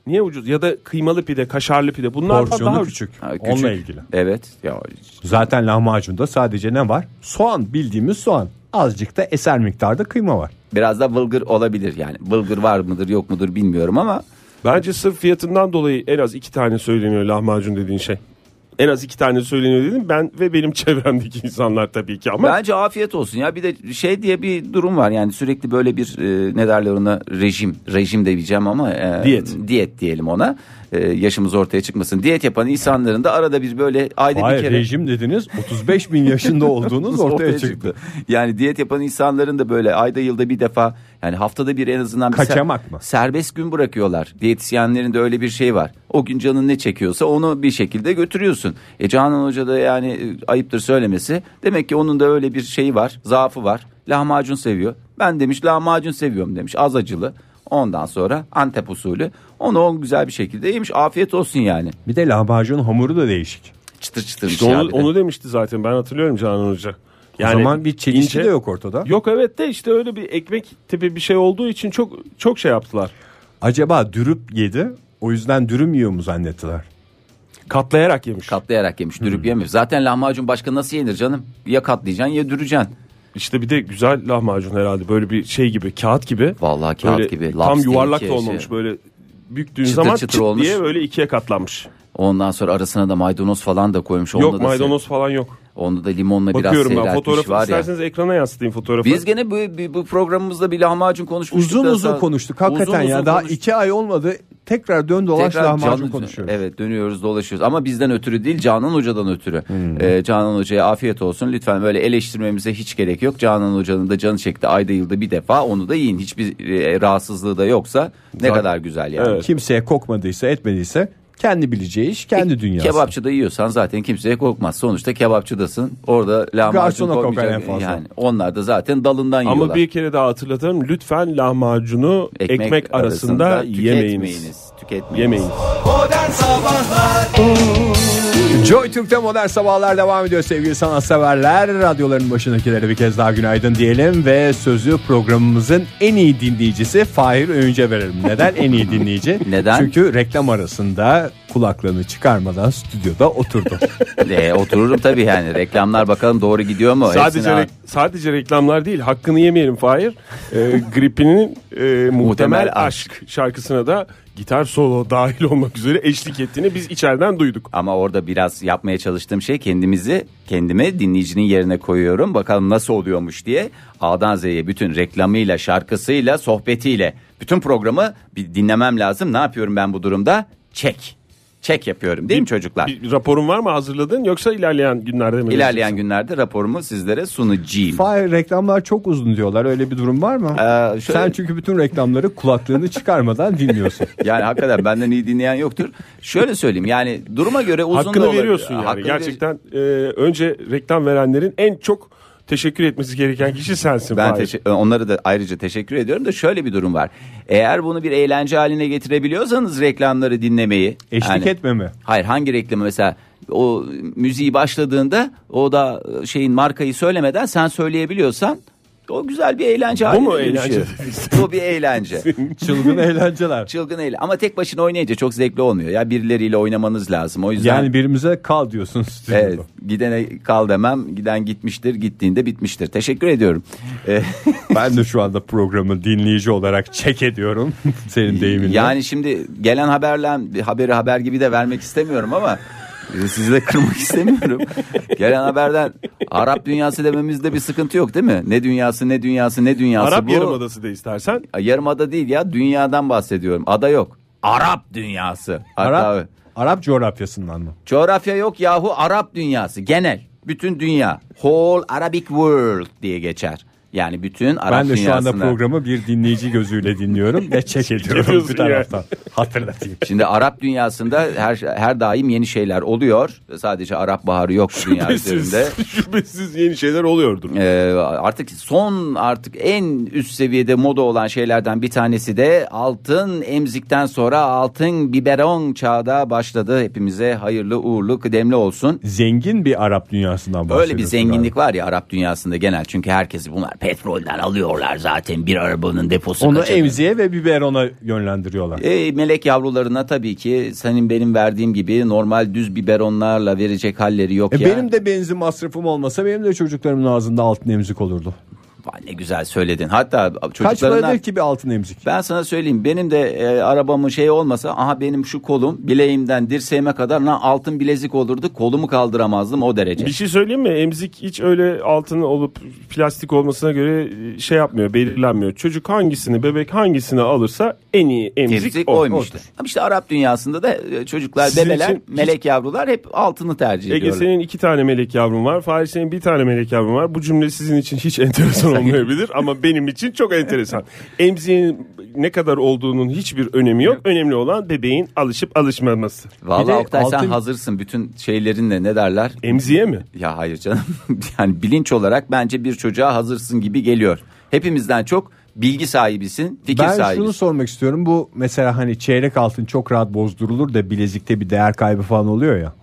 C: Niye ucuz? Ya da kıymalı pide, kaşarlı pide bunlar da daha
B: Porsiyonu
C: ucuz.
B: küçük.
D: Ha, küçük.
B: Onunla ilgili.
D: Evet. Ya,
B: Zaten lahmacunda sadece ne var? Soğan bildiğimiz soğan. Azıcık da eser miktarda kıyma var.
D: biraz da bulgur olabilir yani. Bulgur var mıdır yok mudur bilmiyorum ama
C: Bence sırf fiyatından dolayı en az iki tane söyleniyor lahmacun dediğin şey. En az iki tane söyleniyor dedim ben ve benim *laughs* çevremdeki insanlar tabii ki ama
D: Bence afiyet olsun ya bir de şey diye bir durum var yani sürekli böyle bir e, ne derler ona rejim rejim de diyeceğim ama e,
C: Diyet.
D: diyet diyelim ona E, yaşımız ortaya çıkmasın diyet yapan insanların da arada bir böyle ayda bir
B: Hayır
D: kere
B: rejim dediniz 35 bin
D: *laughs*
B: yaşında olduğunuz ortaya, çıktı.
D: Yani diyet yapan insanların da böyle ayda yılda bir defa yani haftada bir en azından bir
B: Kaçamak mı?
D: serbest gün bırakıyorlar. Diyetisyenlerin de öyle bir şey var. O gün canın ne çekiyorsa onu bir şekilde götürüyorsun. E Canan Hoca da yani e, ayıptır söylemesi. Demek ki onun da öyle bir şeyi var. Zaafı var. Lahmacun seviyor. Ben demiş lahmacun seviyorum demiş. Az acılı. Ondan sonra Antep usulü. Onu on güzel bir şekilde yemiş. Afiyet olsun yani.
B: Bir de lahmacun hamuru da değişik.
D: Çıtır çıtırmış
C: İşte onu,
D: ya bir şey de.
C: onu demişti zaten ben hatırlıyorum Canan Hoca.
B: o zaman bir çelişki
C: ince-
B: de yok ortada.
C: Yok evet de işte öyle bir ekmek tipi bir şey olduğu için çok çok şey yaptılar.
B: Acaba dürüp yedi o yüzden dürüm yiyor mu zannettiler?
C: Katlayarak yemiş.
D: Katlayarak yemiş, dürüp
B: Hmm.
D: yemiş. Zaten lahmacun başka nasıl yenir canım? Ya katlayacaksın ya düreceksin.
C: İşte bir de güzel lahmacun herhalde böyle bir şey gibi kağıt gibi.
D: Vallahi kağıt
C: Böyle
D: gibi,
C: Tam
D: lobster
C: yuvarlak
D: iki
C: da olmamış
D: şey.
C: böyle büktüğün
D: Çıtır
C: zaman
D: çıtır
C: çıt
D: olmuş.
C: diye böyle ikiye katlanmış.
D: Ondan sonra arasına da maydanoz falan da koymuş.
C: yok
D: da
C: maydanoz falan yok.
D: Onda da limonla biraz
C: Bakıyorum ben
D: seyretmiş
C: fotoğrafı
D: var ya.
C: isterseniz ekrana yansıtayım fotoğrafı.
D: Biz gene bu, bu- bu programımızda bir lahmacun konuşmuştuk.
B: Uzun
D: da
B: uzun
D: sonra-
B: konuştuk hakikaten
D: Uzun
B: ya
D: uzun
B: daha
D: konuştuk.
B: iki ay olmadı tekrar dön dolaş
D: Tekrar
B: lahmacun
D: Canan-
B: konuşuyoruz.
D: Evet dönüyoruz dolaşıyoruz ama bizden ötürü değil Canan Hoca'dan ötürü.
B: Hmm.
D: Ee, Canan Hoca'ya afiyet olsun lütfen böyle eleştirmemize hiç gerek yok. Canan Hoca'nın da canı çekti ayda yılda bir defa onu da yiyin. Hiçbir e, rahatsızlığı da yoksa ne kadar güzel yani.
C: Evet.
B: Kimseye kokmadıysa etmediyse kendi bileceği iş kendi dünyası.
D: Kebapçıda yiyorsan zaten kimseye korkmaz. Sonuçta kebapçıdasın. Orada lahmacun
B: Garsona kokar
D: koymayacak.
B: en fazla.
D: Yani onlar da zaten dalından
C: Ama
D: yiyorlar.
C: bir kere daha hatırlatalım lütfen lahmacunu ekmek, arasında, yemeyiniz.
D: tüketmeyiniz, Tüketmeyiniz.
C: Yemeyiniz.
B: Joy Türk'te modern sabahlar devam ediyor sevgili sanatseverler. Radyoların başındakilere bir kez daha günaydın diyelim ve sözü programımızın en iyi dinleyicisi Fahir Öğünce verelim. Neden en iyi dinleyici?
D: *laughs* Neden?
B: Çünkü reklam arasında kulaklığını çıkarmadan
D: *laughs*
B: stüdyoda oturdu.
D: E, otururum tabii yani. Reklamlar bakalım doğru gidiyor mu?
C: Sadece
D: Hepsini-
C: re- sadece reklamlar değil hakkını yemeyelim Fahir.
D: *laughs*
C: Ee, gripinin e, muhtemel
D: Muhtemel
C: aşk şarkısına da gitar solo *laughs* dahil olmak üzere eşlik ettiğini biz içeriden duyduk.
D: Ama orada biraz yapmaya çalıştığım şey kendimizi kendime dinleyicinin yerine koyuyorum. Bakalım nasıl oluyormuş diye A'dan Z'ye bütün reklamıyla, şarkısıyla, sohbetiyle bütün programı bir dinlemem lazım. Ne yapıyorum ben bu durumda? Çek. Çek yapıyorum değil mi çocuklar?
C: Bir raporun var mı hazırladın yoksa ilerleyen günlerde mi?
D: İlerleyen günlerde raporumu sizlere sunacağım.
B: Fahir reklamlar çok uzun diyorlar. Öyle bir durum var mı?
D: Ee, şöyle-
B: Sen çünkü bütün reklamları kulaklığını
D: *laughs*
B: çıkarmadan dinliyorsun.
D: Yani hakikaten benden iyi dinleyen yoktur. Şöyle söyleyeyim yani duruma göre uzun da
C: Hakkını
D: olabilir.
C: veriyorsun yani.
D: Hakkını ver-
C: Gerçekten e, önce reklam verenlerin en çok teşekkür etmesi gereken kişi sensin.
D: Ben
C: Fahir.
D: teşe- e, onlara da ayrıca teşekkür ediyorum da şöyle bir durum var. Eğer bunu bir eğlence haline getirebiliyorsanız reklamları dinlemeyi.
B: Eşlik
D: yani-
B: etme mi?
D: Hayır hangi reklamı mesela o müziği başladığında o da e, şeyin markayı söylemeden sen söyleyebiliyorsan o güzel bir eğlence
C: Bu
D: haline
C: mu eğlence
D: dönüşüyor. *laughs* Bu bir eğlence.
B: Çılgın eğlenceler.
D: Çılgın eğlence ama tek başına oynayınca çok zevkli olmuyor. Ya birileriyle oynamanız lazım. O yüzden
B: Yani birimize kal diyorsun stüdyoda.
D: Evet, gidene kal demem. Giden gitmiştir, gittiğinde bitmiştir. Teşekkür
C: *laughs*
D: ediyorum. Ee,
B: Ben de şu anda programı dinleyici olarak çek ediyorum *laughs* senin deyiminle.
D: yani şimdi gelen haberle bir haberi haber gibi de vermek istemiyorum ama e, sizi de kırmak *laughs* istemiyorum. gelen haberden Arap dünyası dememizde bir sıkıntı yok değil mi? Ne dünyası, ne dünyası, ne dünyası
C: Arap
D: bu?
C: Yarımadası da istersen.
D: Ay, Yarımada değil ya, dünyadan bahsediyorum. Ada yok. Arap dünyası. Hatta
B: Arap, Arap coğrafyasından mı?
D: Coğrafya yok yahu Arap dünyası genel. Bütün dünya. Whole Arabic world diye geçer. Yani bütün Arap
B: Ben de şu anda
D: dünyasına.
B: programı bir dinleyici gözüyle dinliyorum ve çek ediyorum
C: ediyorsun
B: bir
C: ya.
B: taraftan. Hatırlatayım.
D: Şimdi Arap dünyasında her her daim yeni şeyler oluyor. Sadece Arap baharı yok dünya
C: Şüphesiz,
D: üzerinde.
C: *laughs* şüphesiz yeni şeyler oluyordur.
D: Ee, artık son artık en üst seviyede moda olan şeylerden bir tanesi de altın emzikten sonra altın biberon çağda başladı. Hepimize hayırlı uğurlu kıdemli olsun.
B: Zengin bir Arap dünyasından bahsediyorsun.
D: Öyle bir zenginlik var ya Arap dünyasında genel çünkü herkesi bunlar petrolden alıyorlar zaten bir arabanın deposu
B: Onu
D: kaça-
B: emziye ve biberona yönlendiriyorlar.
D: E, melek yavrularına tabii ki senin benim verdiğim gibi normal düz biberonlarla verecek halleri yok
B: E
D: ya.
B: benim de benzin masrafım olmasa benim de çocuklarımın ağzında altın emzik olurdu.
D: Vay, ne güzel söyledin. Hatta
B: Kaç
D: çocuklarına
B: paradır ki bir altın emzik?
D: ben sana söyleyeyim benim de e, arabamın şey olmasa aha benim şu kolum bileğimden dirseğime kadar lan altın bilezik olurdu kolumu kaldıramazdım o derece.
C: Bir şey söyleyeyim mi? Emzik hiç öyle altın olup plastik olmasına göre şey yapmıyor, belirlenmiyor. Çocuk hangisini, bebek hangisini alırsa en iyi emzik,
D: Emzik
C: o.
D: oymuş. Ama işte Arap dünyasında da e, çocuklar,
C: Sizin
D: bebeler,
C: için-
D: melek yavrular hep altını tercih
C: Ege
D: ediyorlar.
C: senin iki tane melek yavrun var. Fahri senin bir tane melek yavrun var. Bu cümle sizin için hiç enteresan olmayabilir ama benim için çok enteresan. Emziğin ne kadar olduğunun hiçbir önemi yok. Önemli olan bebeğin alışıp alışmaması.
B: Bir de
D: Vallahi Oktay sen
B: altın-
D: hazırsın bütün şeylerinle ne derler?
C: Emziğe mi?
D: Ya hayır canım. *laughs* Yani bilinç olarak bence bir çocuğa hazırsın gibi geliyor. Hepimizden çok bilgi sahibisin, fikir
B: Ben şunu
D: sahibisin.
B: sormak istiyorum. Bu mesela hani çeyrek altın çok rahat bozdurulur da bilezikte bir değer kaybı falan oluyor ya.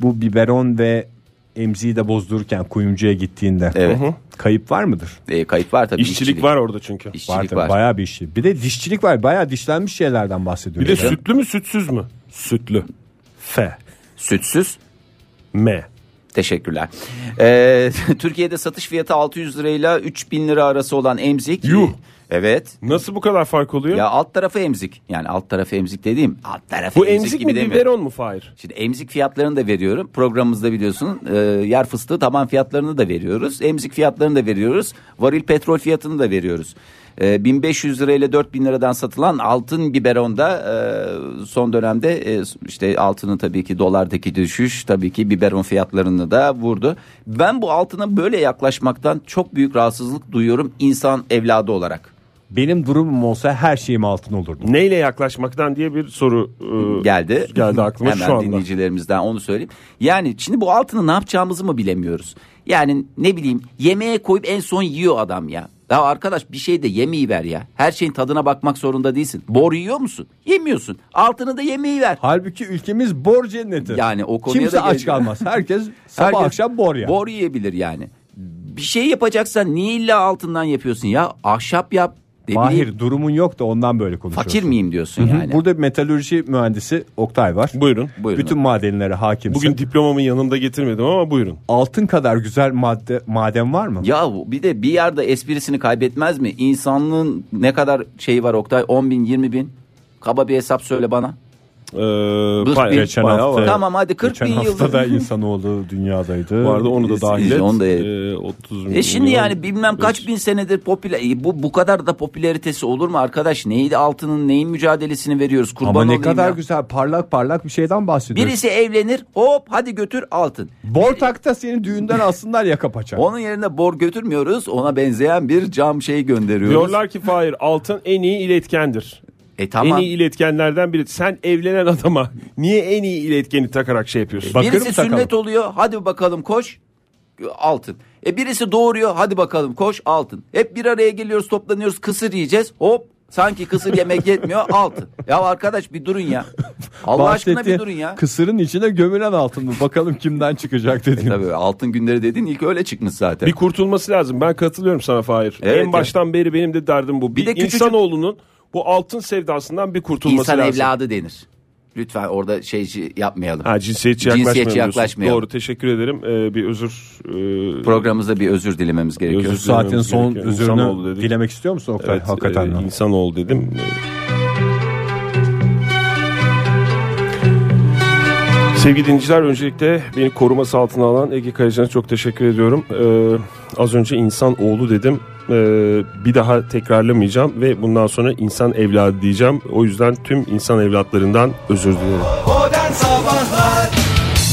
B: Bu biberon ve emziği de bozdururken kuyumcuya gittiğinde
D: Evet.
B: kayıp var mıdır?
D: E, kayıp var tabii.
C: İşçilik, var orada çünkü.
D: İşçilik
B: tabii,
D: var.
B: Bayağı bir işçilik. Bir de dişçilik var. Bayağı dişlenmiş şeylerden
C: Bir
B: bahsediyoruz.
C: de
B: yani.
C: sütlü mü sütsüz mü? Sütlü. F.
D: Sütsüz.
C: M.
D: Teşekkürler. E, *laughs* Türkiye'de satış fiyatı 600 lirayla 3000 lira arası olan emzik.
C: Yuh.
D: Evet.
C: Nasıl bu kadar fark oluyor?
D: Ya alt tarafı emzik. Yani alt tarafı emzik dediğim alt tarafı
C: Bu
D: emzik,
C: emzik
D: gibi
C: mi
D: demiyorum.
C: biberon mu Fahir?
D: Şimdi emzik fiyatlarını da veriyorum. Programımızda biliyorsun e, yer fıstığı taban fiyatlarını da veriyoruz. Emzik fiyatlarını da veriyoruz. Varil petrol fiyatını da veriyoruz. E, 1500 lirayla 4000 liradan satılan altın biberonda e, son dönemde e, işte altının tabii ki dolardaki düşüş tabii ki biberon fiyatlarını da vurdu. Ben bu altına böyle yaklaşmaktan çok büyük rahatsızlık duyuyorum insan evladı olarak.
B: Benim durumum olsa her şeyim altın olurdu.
C: Neyle yaklaşmaktan diye bir soru e,
D: geldi.
C: geldi aklıma
D: Hemen
C: şu anda.
D: dinleyicilerimizden onu söyleyeyim. Yani şimdi bu altını ne yapacağımızı mı bilemiyoruz? Yani ne bileyim yemeğe koyup en son yiyor adam ya. Ya arkadaş bir şey de yemeği ver ya. Her şeyin tadına bakmak zorunda değilsin. Bor yiyor musun? Yemiyorsun. Altını da yemeği ver.
B: Halbuki ülkemiz bor cenneti.
D: Yani o konuya
B: Kimse
D: da
B: aç
D: geleceğim.
B: kalmaz. Herkes
D: *laughs*
B: sabah
D: Herkes
B: akşam bor ya.
D: Bor yiyebilir yani. Bir şey yapacaksan niye illa altından yapıyorsun ya? Ahşap yap. Ne bileyim,
B: Mahir durumun yok da ondan böyle konuşuyorsun.
D: fakir miyim diyorsun yani.
B: Burada bir metalürji mühendisi Oktay var.
C: Buyurun.
D: Buyurun.
B: Bütün madenlere hakimsin.
C: Bugün diplomamı yanımda getirmedim ama buyurun.
B: altın kadar güzel madde maden var mı?
D: Ya bu- bir de bir yerde esprisini kaybetmez mi? İnsanlığın ne kadar şeyi var Oktay? 10 bin, 20 bin. Kaba bir hesap söyle bana.
C: Ee,
D: Buz
C: pay-
D: bin-
C: geçen
E: bayağı
C: hafta
E: var.
D: Tamam hadi 40
E: Geçen
D: bin yıl.
E: hafta da insanoğlu dünyadaydı.
C: vardı onu da dahil et.
D: Onu da-
C: Ee, 30
D: E şimdi yani bilmem kaç bin senedir popüler e bu bu kadar da popülaritesi olur mu arkadaş? Neydi altının neyin mücadelesini veriyoruz kurban
B: Ama ne
D: olayım
B: kadar
D: ya.
B: güzel parlak parlak bir şeyden bahsediyoruz.
D: Birisi evlenir hop hadi götür altın.
B: Bortak'ta seni düğünden alsınlar yaka paça.
D: Onun yerine bor götürmüyoruz ona benzeyen bir cam şey gönderiyoruz.
C: Diyorlar ki Fahir altın en iyi iletkendir.
D: E tamam.
C: En iyi iletkenlerden biri. Sen evlenen adama niye en iyi iletkeni takarak şey yapıyorsun?
B: Bakırım
D: Birisi
B: sakalım.
D: sünnet oluyor hadi bakalım koş altın. E birisi doğuruyor hadi bakalım koş altın. Hep bir araya geliyoruz toplanıyoruz kısır yiyeceğiz hop sanki kısır
C: *laughs*
D: yemek yetmiyor altın. Ya arkadaş bir durun ya. Allah aşkına bir
B: Bahsettiğin
D: durun ya.
B: Kısırın içine gömülen altın mı? Bakalım kimden çıkacak dediğim.
D: Tabii altın günleri dedin ilk öyle çıkmış zaten.
C: Bir kurtulması lazım. Ben katılıyorum sana Fahir.
D: Evet ya.
C: en baştan beri benim de derdim bu. Bir,
D: de küçücük-
C: insanoğlunun bu altın sevdasından bir kurtulması
D: İnsan
C: lazım.
D: evladı denir. Lütfen orada şey yapmayalım.
C: Ha cinsiyetçi
D: Cinsiyetçi
C: yaklaşmayalım. diyorsun.
D: yaklaşmayalım.
C: Doğru teşekkür ederim. Ee, bir özür. e,
D: Programımızda bir özür dilememiz gerekiyor.
C: Özür
B: Bu saatin
C: dilememiz
B: son
C: gerekiyor. İnsanoğlu
B: özürünü
C: dedik.
B: dilemek istiyor musun Oktay?
C: Evet,
B: Hakikaten.
C: e, insanoğlu dedim. Sevgili dinleyiciler öncelikle beni koruması altına alan Ege Kayacan'a çok teşekkür ediyorum. Ee, az önce insan oğlu dedim. Ee, bir daha tekrarlamayacağım ve bundan sonra insan evladı diyeceğim. O yüzden tüm insan evlatlarından özür dilerim.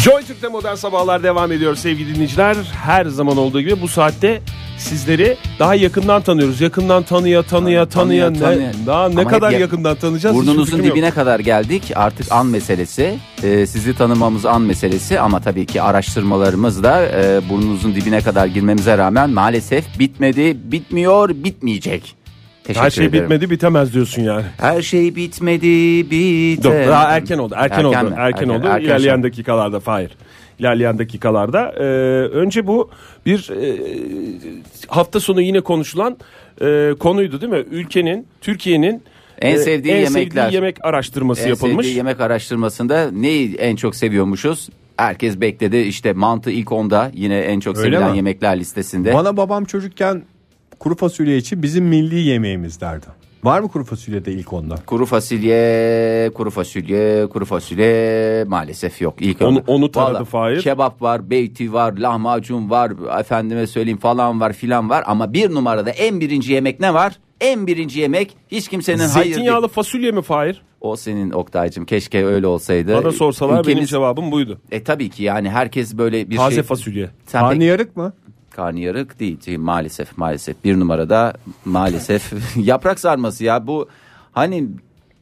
C: Joy Türk'te Modern Sabahlar devam ediyor sevgili dinleyiciler. Her zaman olduğu gibi bu saatte sizleri daha yakından tanıyoruz. Yakından tanıya tanıya tanıya,
D: Tanıya,
C: ne-
D: tanıya.
C: daha ne
D: Ama
C: kadar
D: hep ya-
C: yakından tanıyacağız? hiçbir
D: Burnunuzun
C: fikrim yok.
D: dibine kadar geldik. Artık an meselesi. Ee, sizi tanımamız an meselesi ama tabii ki araştırmalarımız da e, burnunuzun dibine kadar girmemize rağmen maalesef bitmedi, bitmiyor, bitmeyecek. Teşekkür
C: Her şey
D: ederim.
C: bitmedi bitemez diyorsun yani.
D: Her şey bitmedi, bite.
C: Dur, daha erken oldu. Erken,
D: Erken
C: oldu.
D: mi?
C: Erken,
D: Erken-
C: oldu.
D: erken
C: İlerleyen
D: şey.
C: dakikalarda Fahir. İlerleyen dakikalarda. Ee, önce bu bir e, hafta sonu yine konuşulan e, konuydu değil mi? Ülkenin, Türkiye'nin
D: En
C: e,
D: sevdiği
C: en
D: yemekler.
C: sevdiği yemek araştırması
D: En
C: yapılmış.
D: sevdiği yemek araştırmasında neyi en çok seviyormuşuz? Herkes bekledi. İşte mantı ilk onda yine en çok
B: Öyle
D: sevilen
B: mi?
D: yemekler listesinde.
B: Bana babam çocukken kuru fasulye için bizim milli yemeğimiz derdi. Var mı kuru fasulye de ilk onda?
D: Kuru fasulye, kuru fasulye, kuru fasulye maalesef yok. İlk
C: Onu-
D: önce-
C: onu taradı
D: Vallahi
C: Fahir.
D: Kebap var, beyti var, lahmacun var, efendime söyleyeyim falan var filan var. Ama bir numarada en birinci yemek ne var? En birinci yemek hiç kimsenin hayır değil.
C: Zeytinyağlı fasulye mi Fahir?
D: O senin Oktay'cım keşke öyle olsaydı.
C: Bana sorsalar benim
D: Ee, Ülkemiz-
C: cevabım buydu.
D: E tabii ki yani herkes böyle bir
C: Taze
D: şey.
C: fasulye.
D: Sen pek-
B: Karnıyarık mı?
D: Karnıyarık değil değil, maalesef maalesef bir numarada maalesef *laughs* yaprak sarması ya bu hani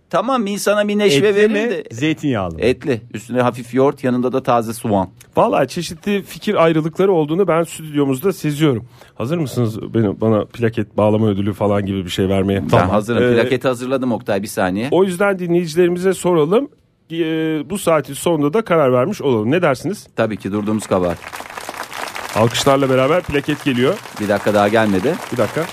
D: tamam insana bir neşve
B: Etli
D: verir
B: mi?
D: de E-
B: Zeytinyağlı mı?
D: etli üstüne hafif yoğurt yanında da taze soğan.
C: Valla çeşitli fikir ayrılıkları olduğunu ben stüdyomuzda seziyorum. Hazır mısınız benim bana plaket bağlama ödülü falan gibi bir şey vermeye?
D: Ben hazırım
C: Ee,
D: plaketi hazırladım Oktay bir saniye.
C: O yüzden dinleyicilerimize soralım. Ee, bu saatin sonunda da karar vermiş olalım. Ne dersiniz?
D: Tabii ki durduğumuz kabahat.
C: Alkışlarla beraber plaket geliyor.
D: Bir dakika daha gelmedi.
C: Bir dakika.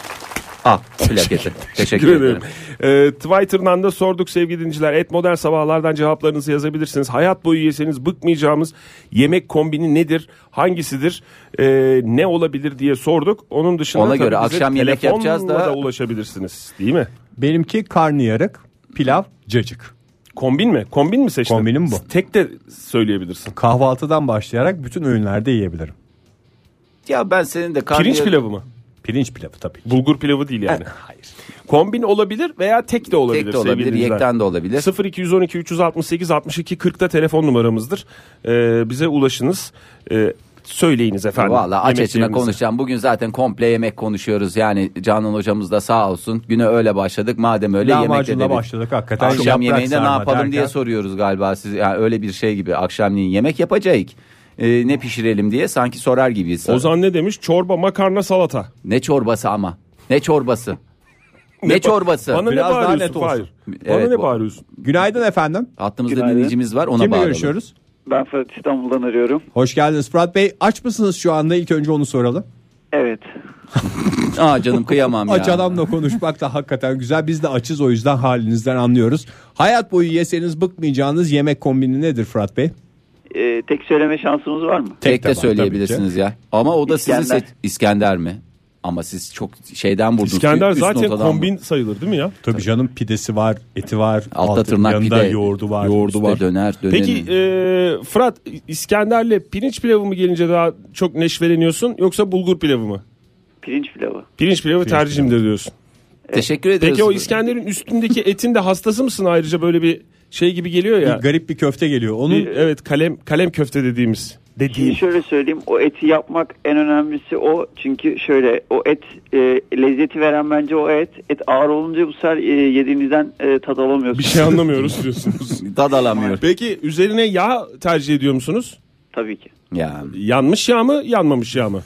D: Al plaketi. Teşekkür ederim.
C: Ee, Twitter'dan da sorduk sevgili dinleyiciler. Et modern sabahlardan cevaplarınızı yazabilirsiniz. Hayat boyu yeseniz bıkmayacağımız yemek kombini nedir? Hangisidir? Ee, ne olabilir diye sorduk. Onun dışında
D: Ona
C: tabii
D: göre
C: bize
D: akşam yemek
C: telefonla
D: yapacağız da-
C: ulaşabilirsiniz. Değil mi?
B: Benimki karnıyarık, pilav, cacık.
C: Kombin mi? Kombin mi seçtin?
B: Kombinim bu.
C: Tek de söyleyebilirsin.
B: Kahvaltıdan başlayarak bütün öğünlerde yiyebilirim.
D: Ya ben senin de karnıyarık.
C: Pirinç pilavı mı?
B: Pirinç pilavı tabii ki.
C: Bulgur pilavı değil
D: *laughs*
C: yani. Hayır. Kombin olabilir veya tek de olabilir.
D: Tek de olabilir,
C: sevgili dinleyiciler.
D: yekten de olabilir.
C: 0212 368 62 40'ta telefon numaramızdır. Ee, bize ulaşınız. Ee, söyleyiniz efendim.
D: Valla aç açına
C: Yemeklerinizi.
D: konuşacağım. Bugün zaten komple yemek konuşuyoruz. Yani Canan hocamız da sağ olsun. Güne öyle başladık. Madem öyle yemekle
B: Lahmacunla
D: dedik.
B: başladık hakikaten.
D: Akşam
B: yaprak
D: yemeğinde ne
B: sarma
D: yapalım
B: derken.
D: diye soruyoruz galiba siz yani öyle bir şey gibi akşamleyin yemek yapacağız. Ee, ne pişirelim diye sanki sorar gibiyiz.
C: Ozan ne demiş? Çorba, makarna, salata.
D: Ne çorbası ama? Ne çorbası? ne,
C: ba-
D: çorbası?
C: Bana
B: Biraz
C: ne
B: daha
C: bağırıyorsun?
B: net olsun.
C: Hayır.
D: Evet,
C: Bana ne
D: bu-
C: bağırıyorsun?
B: Günaydın efendim.
D: Hattımızda
F: Günaydın.
D: dinleyicimiz var ona
B: Kimle
D: bağlı.
B: görüşüyoruz?
F: Ben Fırat İstanbul'dan arıyorum.
B: Hoş geldiniz Fırat Bey. Aç mısınız şu anda? İlk önce onu soralım.
F: Evet.
D: Aa canım kıyamam ya.
B: *laughs* Aç adamla konuşmak da hakikaten güzel. Biz de açız o yüzden halinizden anlıyoruz. Hayat boyu yeseniz bıkmayacağınız yemek kombini nedir Fırat Bey?
F: Ee, tek söyleme şansımız var mı?
D: Tek de
B: taban, tabii ki.
D: söyleyebilirsiniz ya. Ama o da sizin
F: İskender.
D: seç- İskender mi? Ama siz çok şeyden vurdunuz.
C: İskender
D: üst
C: zaten
D: notadan
C: kombin sayılır değil mi ya?
B: Tabii canım pidesi var, eti var,
D: Altta
B: altı-
D: tırnak
B: yanında
D: pide.
B: yoğurdu var.
D: Yoğurdu var. Döner, dönerin.
C: Peki e, Fırat İskender'le pirinç pilavı mı gelince daha çok neşveleniyorsun yoksa bulgur pilavı mı?
G: Pirinç pilavı.
C: Pirinç pilavı tercihimdir diyorsun.
D: Teşekkür ederiz.
C: Peki o
D: *laughs*
C: İskender'in üstündeki etin de hastası mısın ayrıca böyle bir şey gibi geliyor ya.
B: Garip bir köfte geliyor. Onun
C: Bir- evet kalem kalem köfte dediğimiz.
G: Şimdi şöyle söyleyeyim o eti yapmak en önemlisi o çünkü şöyle o et e, lezzeti veren bence o et et ağır olunca bu sefer e, yediğinizden e, tad alamıyorsunuz.
C: Bir şey anlamıyoruz diyorsunuz.
D: Tad alamıyor.
C: *laughs* Peki üzerine yağ tercih ediyor musunuz?
G: Tabii ki.
D: Ya,
C: Yanmış yağ mı yanmamış yağ mı?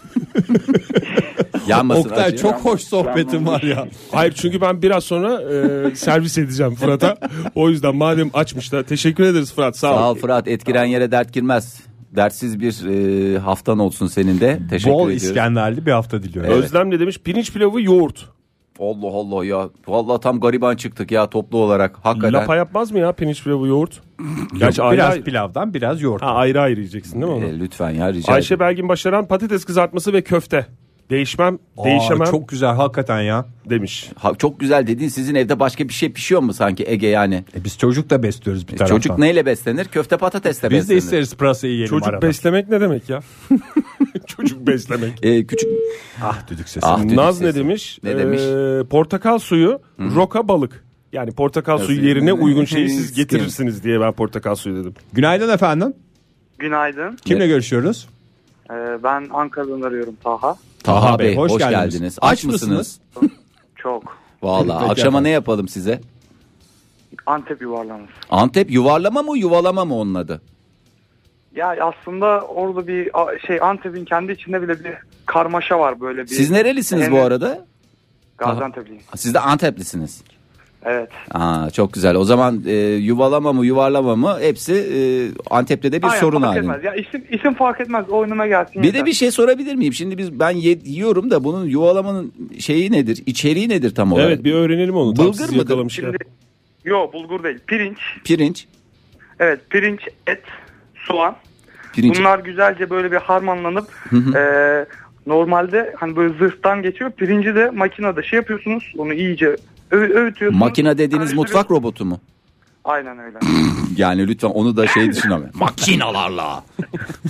D: yanmasın
B: Oktay
D: acı.
B: çok hoş sohbetin var ya.
C: Hayır çünkü ben biraz sonra e, servis edeceğim Fırat'a. O yüzden madem açmış da teşekkür ederiz Fırat sağ,
D: Sağ ol
C: ol.
D: Fırat etkiren yere dert girmez. Dertsiz bir e, haftan olsun senin de. Teşekkür
B: Bol
D: ediyoruz.
B: İskenderli bir hafta diliyorum.
D: Evet.
C: Özlem ne demiş? Pirinç pilavı yoğurt.
D: Allah Allah ya. Vallahi tam gariban çıktık ya toplu olarak. Hakikaten.
C: Lapa yapmaz mı ya pirinç pilavı yoğurt? Gerçi ayrı,
B: Biraz
C: ayrı-
B: pilavdan biraz yoğurt.
C: ha, ayrı ayrı yiyeceksin değil mi onu?
D: E, lütfen ya rica
C: Ayşe
D: ederim.
C: Belgin Başaran patates kızartması ve köfte. Değişmem,
B: Aa,
C: değişemem
B: Çok güzel hakikaten ya.
C: demiş.
D: Ha, çok güzel dedin. Sizin evde başka bir şey pişiyor mu sanki Ege yani?
B: E biz E, çocuk da besliyoruz bir taraftan.
D: Çocuk neyle beslenir? Köfte patatesle
B: Biz de
D: beslenir.
B: isteriz pırasayı yiyelim
C: Çocuk
B: arada.
C: beslemek ne demek ya? *laughs* Çocuk beslemek.
D: E, küçük
B: Ah düdük sesi.
D: ah düdük
C: Naz ne
D: sesi.
C: demiş?
D: Ne demiş?
C: Ee, portakal suyu, roka balık. Yani portakal suyu yerine uygun şeyi siz getirirsiniz diye ben portakal suyu dedim.
B: Günaydın efendim.
H: Günaydın.
B: Kimle görüşüyoruz?
H: Ee, ben Ankara'dan arıyorum Taha.
D: Taha Bey hoş, geldiniz. Aç, mısınız?
H: Çok.
D: Valla
B: Peki
D: akşama
B: efendim.
D: ne yapalım size?
H: Antep yuvarlaması.
D: Antep yuvarlama mı yuvalama mı onun adı?
H: Ya aslında orada bir a- şey Antep'in kendi içinde bile bir karmaşa var böyle bir.
D: Siz nerelisiniz bu
H: Evet.
D: arada?
H: Gaziantep'liyiz.
D: Siz de Anteplisiniz.
H: Evet.
D: Aa, çok güzel. O zaman e, yuvalama mı yuvarlama mı hepsi e, Antep'te de bir
H: Aynen,
D: sorun
H: fark
D: halinde.
H: etmez. Ya isim, isim fark etmez. Oyunuma gelsin.
D: Bir
H: yeter.
D: de bir şey sorabilir miyim? Şimdi biz ben ye- yiyorum da bunun yuvalamanın şeyi nedir? İçeriği nedir tam olarak?
C: Evet bir öğrenelim onu.
D: Bulgur
C: Tam sizi
D: mıdır?
C: yakalamışken.
H: Şimdi, yo bulgur değil. Pirinç.
D: Pirinç.
H: Evet pirinç, et, soğan.
D: Pirinç.
H: Bunlar güzelce böyle bir harmanlanıp e, normalde hani böyle zırhtan geçiyor. Pirinci de makinede şey yapıyorsunuz. Onu iyice ö- öğütüyorsunuz.
D: Makine dediğiniz
H: Karıştırıyorsunuz.
D: mutfak robotu mu?
H: Aynen öyle. *laughs*
D: Yani lütfen onu da şey düşünme. Makinalarla.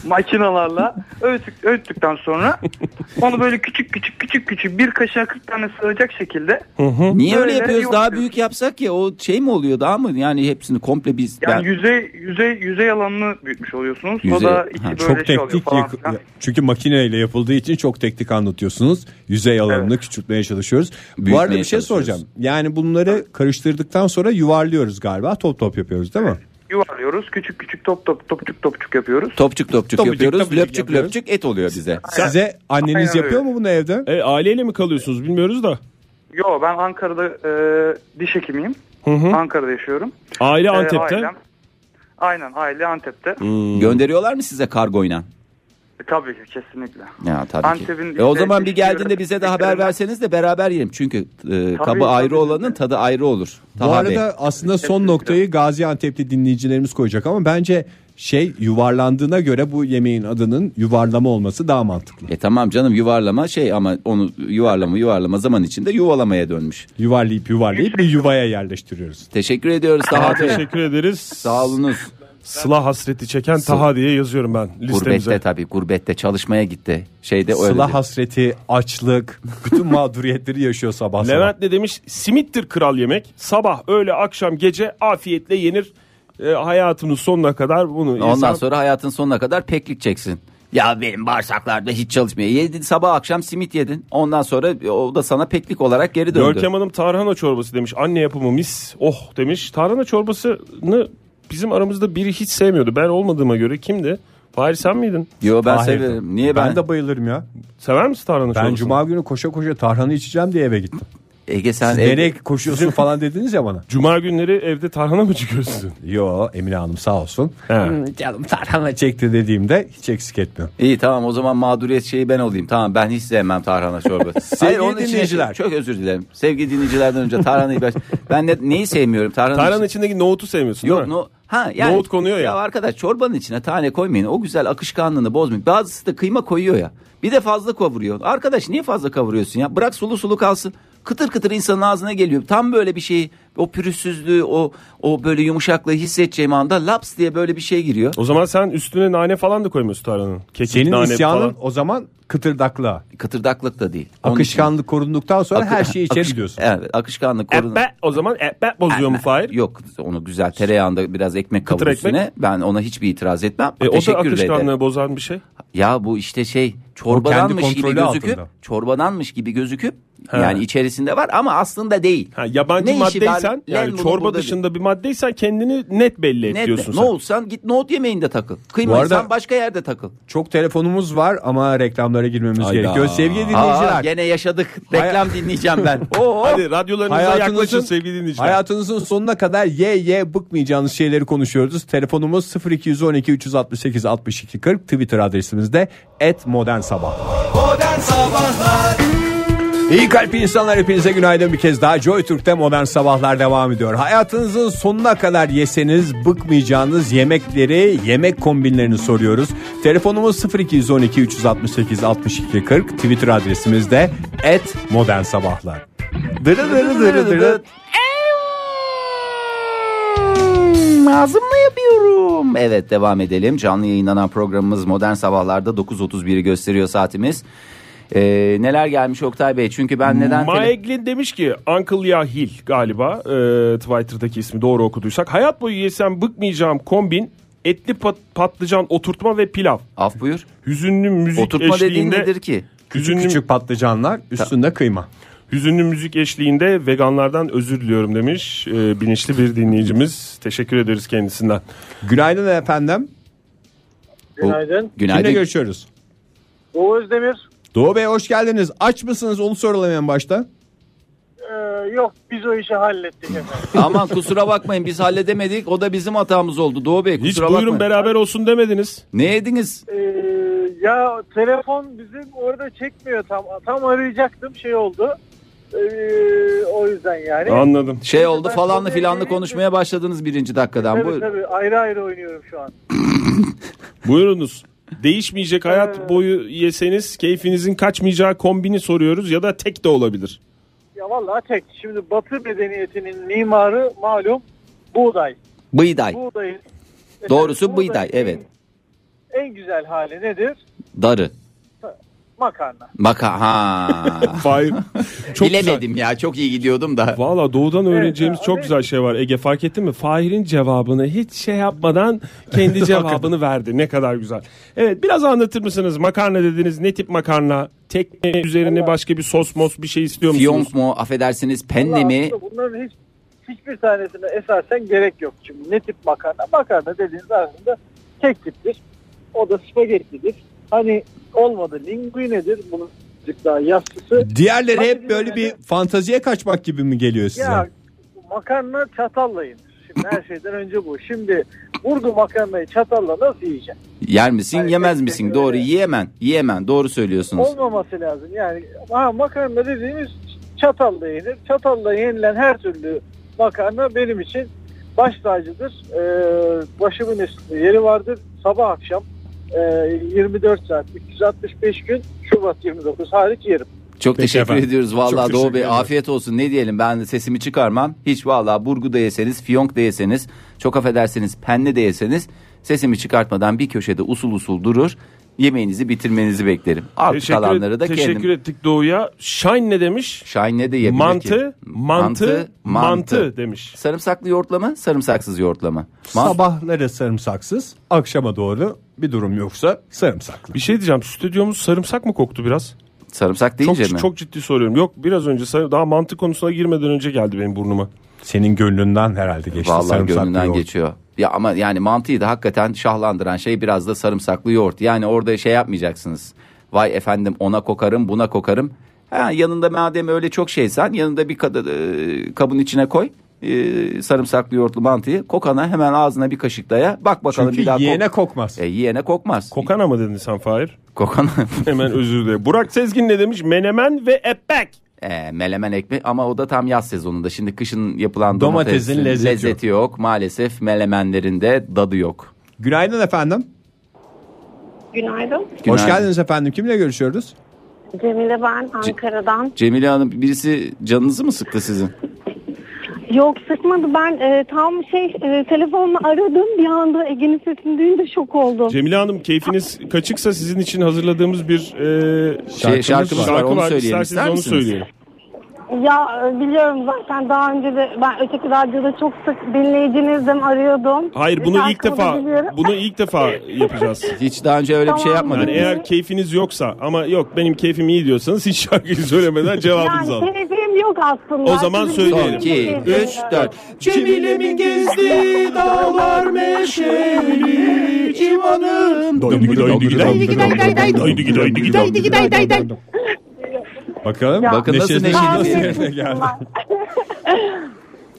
H: Makinalarla öğüttük, öğüttükten sonra onu böyle küçük küçük küçük küçük bir kaşığa 40 tane sığacak şekilde
D: Niye öyle
H: Öyle
D: yapıyoruz?
H: yok
D: Daha
H: diyorsun.
D: büyük yapsak ya o şey mi oluyor daha mı? Yani hepsini komple biz
H: yani
D: ben-
H: yüzey yüzey yüzey alanını büyütmüş oluyorsunuz.
D: Yüzey-
H: o da içi
D: Ha,
H: böyle
B: Çok
H: şey oluyor
B: teknik
H: falan.
B: yık-
H: filan.
B: ya- çünkü makineyle yapıldığı için çok teknik anlatıyorsunuz. Yüzey alanını küçültmeye çalışıyoruz. Bu
D: Büyütmeye
B: arada bir şey
D: çalışıyoruz.
B: soracağım. Yani bunları karıştırdıktan sonra yuvarlıyoruz galiba. Top top yapıyoruz değil mi?
H: Yuvarlıyoruz. Küçük küçük top top topçuk topçuk yapıyoruz.
D: topçuk topçuk
B: Topçuk
D: yapıyoruz.
B: topçuk
D: löpçük
B: yapıyoruz.
D: löpçük et oluyor bize.
B: Size anneniz
H: Aynen
B: yapıyor
H: öyle.
B: mu bunu evde?
C: E, aileyle mi kalıyorsunuz bilmiyoruz da.
H: Yo ben Ankara'da e, diş hekimiyim. Ankara'da yaşıyorum.
C: Aile
H: E,
C: Antep'te.
H: ailem- aynen aile Antep'te.
D: Gönderiyorlar mı size kargoyla?
H: E, tabii ki kesinlikle.
D: Ya tabii
H: Antep'in
D: ki. E, o
H: işte
D: zaman bir
H: ilişkileri-
D: geldiğinde bize de haber verseniz de beraber yiyelim. Çünkü e, kabı
H: tabii.
D: ayrı olanın tadı ayrı olur.
B: Bu
D: Taha Bey.
B: arada aslında son noktayı Gaziantep'li dinleyicilerimiz koyacak ama bence şey yuvarlandığına göre bu yemeğin adının yuvarlama olması daha mantıklı.
D: E tamam canım yuvarlama şey ama onu yuvarlama yuvarlama zaman içinde yuvalamaya dönmüş.
B: Yuvarlayıp yuvarlayıp bir yuvaya yerleştiriyoruz.
D: Teşekkür ediyoruz Taha Bey.
C: Teşekkür
D: *laughs*
C: ederiz.
D: Sağolunuz.
C: Sıla hasreti çeken Taha diye yazıyorum ben listemize.
D: Gurbette tabii gurbette çalışmaya gitti. Şeyde öyle.
B: Sıla
D: dedi.
B: hasreti, açlık, bütün mağduriyetleri yaşıyor sabah sabah.
C: Levent ne demiş? Simittir kral yemek. Sabah, öğle, akşam, gece afiyetle yenir. E, hayatımın sonuna kadar bunu
D: Ondan
C: insan-
D: sonra hayatın sonuna kadar peklik çeksin. Ya benim bağırsaklarda hiç çalışmıyor. Yedin sabah akşam simit yedin. Ondan sonra e, o da sana peklik olarak geri döndü.
C: Görkem Hanım tarhana çorbası demiş. Anne yapımı mis. Oh demiş. Tarhana çorbasını bizim aramızda biri hiç sevmiyordu. Ben olmadığıma göre kimdi? Fahri sen miydin?
D: Yo ben
B: Hayır.
D: severim. Niye ben?
B: Ben de bayılırım ya.
C: Sever misin tarhana
B: Ben
C: çorbasını?
B: cuma günü koşa koşa tarhana içeceğim diye eve gittim.
D: Ege sen ev-
B: Nereye koşuyorsun falan dediniz
D: *laughs*
B: ya bana.
C: Cuma günleri evde tarhana mı çıkıyorsun?
B: Yo Emine Hanım sağ olsun.
C: He.
B: Hmm, Canım tarhana çekti dediğimde hiç eksik etmiyor.
D: İyi tamam o zaman mağduriyet şeyi ben olayım. Tamam ben hiç sevmem
C: *laughs*
D: tarhana çorbası. Hayır, onun için-
B: dinleyiciler.
D: çok özür dilerim. Sevgili dinleyicilerden önce tarhanayı
C: *laughs*
D: ben, ben ne, neyi sevmiyorum? Tarhana
C: Tarhanın içindeki nohutu sevmiyorsun
D: Yok
C: değil mi?
D: no, ha yani
C: Nohut konuyor ya.
D: arkadaş çorbanın içine tane koymayın. O güzel akışkanlığını bozmayın. Bazısı da kıyma koyuyor ya. Bir de fazla kavuruyor. Arkadaş niye fazla kavuruyorsun ya? Bırak sulu sulu kalsın. Kıtır kıtır insanın ağzına geliyor. Tam böyle bir şey o pürüzsüzlüğü o o böyle yumuşaklığı hissedeceğim anda laps diye böyle bir şey giriyor.
C: O zaman sen üstüne nane falan da koymuyorsun tarhanın. Kekik
B: Senin
C: nane
B: isyanın
C: falan.
B: o zaman kıtırdaklığa.
D: Kıtırdaklık da değil. Onun için-
B: Akışkanlık korunduktan sonra her şeyi
C: Şey
B: içeri
D: Akış-
B: gidiyorsun.
D: Evet akışkanlık korun.
C: Ebbe, o zaman ebbe bozuyor mu Fahir?
D: Yok onu güzel tereyağında biraz ekmek kavur
C: Kıtır ekmek.
D: üstüne. Ben ona hiçbir itiraz etmem.
C: E, o da
D: Teşekkür ederim.
C: akışkanlığı bozan bir şey.
D: Ya bu işte şey çorbadanmış gibi
B: kontrolü
D: gözüküp
B: altında.
D: çorbadanmış gibi gözüküp yani içerisinde var ama aslında değil.
C: Ha, yabancı
D: Ne işi
C: maddeysen
D: var? Lan
C: yani
D: bunu
C: çorba
D: burada
C: dışında bir maddeysen kendini net belli et
D: Ne,
C: diyorsun
D: ne
C: sen.
D: olsan git nohut yemeğinde takıl. Kıymaysan
B: arada-
D: başka yerde takıl.
B: Çok telefonumuz var ama reklamlara girmemiz
I: Hayda.
B: gerekiyor. Sevgili dinleyiciler.
D: Aa, gene yaşadık. Reklam dinleyeceğim ben.
C: *laughs*
D: Oo.
C: Hadi radyolarınıza
B: Hayatınızın-
C: yaklaşın sevgili dinleyiciler.
B: Hayatınızın sonuna kadar ye ye bıkmayacağınız şeyleri konuşuyoruz. Telefonumuz 0212 368 62 40 Twitter adresimiz de @modernsabah. İyi kalp insanlar hepinize günaydın bir kez daha Joy Türk'te modern sabahlar devam ediyor. Hayatınızın sonuna kadar yeseniz bıkmayacağınız yemekleri, yemek kombinlerini soruyoruz. Telefonumuz 0212 368 62 40, Twitter adresimiz de @modernsabahlar. Dırı dırı dırı dırı.
D: Ağzımla yapıyorum. Evet devam edelim. Canlı yayınlanan programımız Modern Sabahlar'da 9.31'i gösteriyor saatimiz. Ee, neler gelmiş Oktay Bey? Çünkü ben neden... tele-
C: Maeglin demiş ki Uncle Yahil galiba e, Twitter'daki ismi doğru okuduysak. Hayat boyu yesem bıkmayacağım kombin etli pat- patlıcan oturtma ve pilav.
D: Af buyur.
C: Hüzünlü müzik
D: Oturtma dediğin
C: eşliğinde
D: nedir ki?
C: Hüzünlü,
B: Küçük patlıcanlar üstünde kıyma.
C: hüzünlü müzik eşliğinde veganlardan özür diliyorum demiş e, bilinçli bir dinleyicimiz. Teşekkür ederiz kendisinden.
B: Günaydın efendim.
J: Günaydın.
B: Kimle
D: Günaydın.
B: görüşüyoruz?
J: Doğu Özdemir.
B: Doğu Bey hoş geldiniz. Aç mısınız onu soralım en başta.
J: Ee, yok biz o işi hallettik efendim.
D: Aman kusura bakmayın biz halledemedik. O da bizim hatamız oldu Doğu Bey
C: Hiç
D: kusura
C: buyurun
D: bakmayın.
C: beraber olsun demediniz.
D: Ne yediniz?
J: Ee, ya telefon bizim orada çekmiyor tam. Tam arayacaktım şey oldu. Ee, o yüzden yani.
C: Anladım.
D: Şey oldu
J: ben
D: falanlı
J: konuya
D: filanlı
J: gireyim.
D: konuşmaya başladınız birinci dakikadan.
J: tabii
D: Buyurun.
J: tabii ayrı ayrı oynuyorum şu an.
C: Buyurunuz. Değişmeyecek hayat boyu yeseniz keyfinizin kaçmayacağı kombini soruyoruz ya da tek de olabilir.
J: Ya vallahi tek. Şimdi Batı medeniyetinin mimarı malum buğday.
D: Bıyday.
J: Buğdayın
D: Doğrusu
J: Buğdayın
D: bıyday evet.
J: En güzel hali nedir?
D: Darı.
J: Makarna.
D: Maka ha.
J: *laughs*
C: Hayır. Çok güzel.
D: Bilemedim ya çok iyi gidiyordum da.
C: Valla doğudan öğreneceğimiz
J: ya,
C: çok
J: evet.
C: güzel şey var Ege fark ettin mi? Fahir'in cevabını hiç şey yapmadan
D: *laughs*
C: kendi cevabını verdi. Ne kadar güzel. Evet biraz anlatır mısınız? Makarna dediniz ne tip makarna? Tek mi? üzerine başka bir sos mos bir şey istiyor musunuz?
D: Fiyonk mu affedersiniz penne
J: Vallahi
D: mi?
J: aslında Bunların hiç, hiçbir tanesine esasen gerek yok. Şimdi ne tip makarna? Makarna dediğiniz aslında tek tiptir. O da spagettidir. Hani olmadı linguinedir. Bunun azıcık daha yastısı.
B: Diğerleri
J: Bak
B: hep
J: bizim
B: böyle bir
J: yani-
B: fantaziye kaçmak gibi mi geliyor size?
J: Ya makarna çatalla yenir. Şimdi her şeyden önce bu. Şimdi vurdu makarnayı çatalla nasıl yiyeceksin?
D: Yer misin
J: Hayır,
D: yemez
J: tek-
D: misin?
J: tek-
D: Doğru
J: öyle.
D: yiyemem. Yiyemem doğru söylüyorsunuz.
J: Olmaması lazım. Yani ha, makarna dediğimiz çatalla yenir. Çatalla yenilen her türlü makarna benim için baş tacıdır. Ee, başımın üstünde yeri vardır. Sabah akşam e, 24 saat 365 gün Şubat 29 hariç yerim.
D: Çok teşekkür
C: efendim.
D: ediyoruz
C: Çok
D: vallahi Doğu Bey
C: teşekkür
D: afiyet olsun ne diyelim ben sesimi çıkarmam. Hiç vallahi burgu da yeseniz fiyonk da yeseniz çok affedersiniz penne de yeseniz sesimi çıkartmadan bir köşede usul usul durur. Yemeğinizi bitirmenizi beklerim. Artık
C: Teşekkür,
D: kalanları da
C: teşekkür
D: kendim.
C: ettik Doğu'ya. Shine ne demiş?
D: Şahine de yebilir
C: Mantı,
D: ki.
C: mantı, mantı demiş.
D: Sarımsaklı yoğurtlama, sarımsaksız yoğurtlama. Ma-
B: Sabahları sarımsaksız, akşama doğru bir durum yoksa sarımsaklı.
C: Bir şey diyeceğim stüdyomuz sarımsak mı koktu biraz?
D: sarımsak
C: Çok,
D: deyince mi?
C: çok ciddi soruyorum. Yok biraz önce sar- daha mantı konusuna girmeden önce geldi benim burnuma.
B: Senin gönlünden herhalde geçti
D: Vallahi
B: sarımsaklı
D: gönlünden
B: yoğurt.
D: geçiyor. Ya ama yani mantıyı da hakikaten şahlandıran şey biraz da sarımsaklı yoğurt. Yani orada şey yapmayacaksınız. Vay efendim ona kokarım, buna kokarım. Ha, yanında madem öyle çok şeysen yanında bir kadı, e, kabın içine koy. E, sarımsaklı yoğurtlu mantıyı kokana hemen ağzına bir kaşık daya bak bakalım
E: Çünkü
D: bir daha
E: yiyene
D: kok-
E: kokmaz.
D: E, yiyene kokmaz.
C: Kokana mı dedin sen Fahir?
D: kokana *laughs*
C: Hemen özür dilerim. Burak Sezgin ne demiş? Menemen ve epek.
D: E, melemen ekmek ama o da tam yaz sezonunda. Şimdi kışın yapılan
E: Domatesin
D: domatesin,
E: lezzeti
D: lezzeti, yok. Maalesef melemenlerinde dadı yok.
E: Günaydın efendim.
K: Günaydın.
D: Günaydın.
E: Hoş geldiniz efendim. Kimle görüşüyoruz?
K: Cemile ben Ankara'dan.
D: Cemile Hanım birisi canınızı mı sıktı sizin?
K: Yok sıkmadı ben e, tam şey e, telefonla aradım bir anda Ege'nin sesini duyunca şok oldum.
C: Cemile Hanım keyfiniz kaçıksa sizin için hazırladığımız bir e,
D: Şey, şarkımız var, onu söyleyelim.
C: İsterseniz
D: İster
C: onu
D: misiniz?
C: söyleyelim.
K: Ya e, biliyorum zaten daha önce de ben öteki radyoda çok sık dinleyicinizdim arıyordum.
C: Hayır bunu
K: Şarkımı
C: ilk
K: da
C: defa
K: biliyorum.
C: bunu ilk defa yapacağız.
D: Hiç daha önce öyle bir şey
K: Tamam.
D: yapmadınız.
C: Yani
K: Hı hı.
C: eğer keyfiniz yoksa ama yok benim keyfim iyi diyorsanız hiç şarkıyı söylemeden cevabınızı
K: Yani
C: alın.
K: sebebim yok aslında.
C: O zaman
K: Sizin
C: söyleyelim.
K: dediğiniz
D: 2,
K: gibi.
D: 3, 4. Cemile'min gezdiği dağlar meşeli civanım.
E: Bakalım.
K: Ya.
E: Bakın
D: Bakın
E: neşesi
D: nasıl
E: neşeli
K: Tahmin
E: nasıl yerine
K: etmiştim
E: geldi.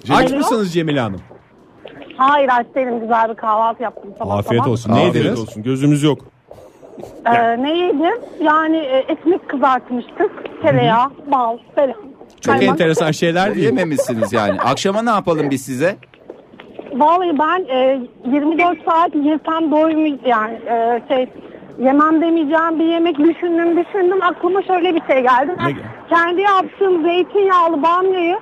K: ben.
E: Aç mısınız Cemile Hanım?
K: Hayır aç değilim güzel bir kahvaltı yaptım. Sabah
E: Afiyet
K: sabah.
E: olsun. Ne
C: Afiyet
E: yediniz?
C: olsun gözümüz yok.
K: Ee, ne yedim? Yani e, ekmek kızartmıştık. Tereyağı, bal, falan.
E: Çok
K: Kaymak.
E: enteresan şeyler değil.
D: Yememişsiniz yani. Akşama ne yapalım biz
K: *laughs*
D: size?
K: Vallahi ben e, 24 saat yesem doymayacağım. Yani e, şey yemem demeyeceğim bir yemek düşündüm düşündüm aklıma şöyle bir şey geldi. Ben
E: Ne gel-
K: kendi yaptığım zeytinyağlı bamyayı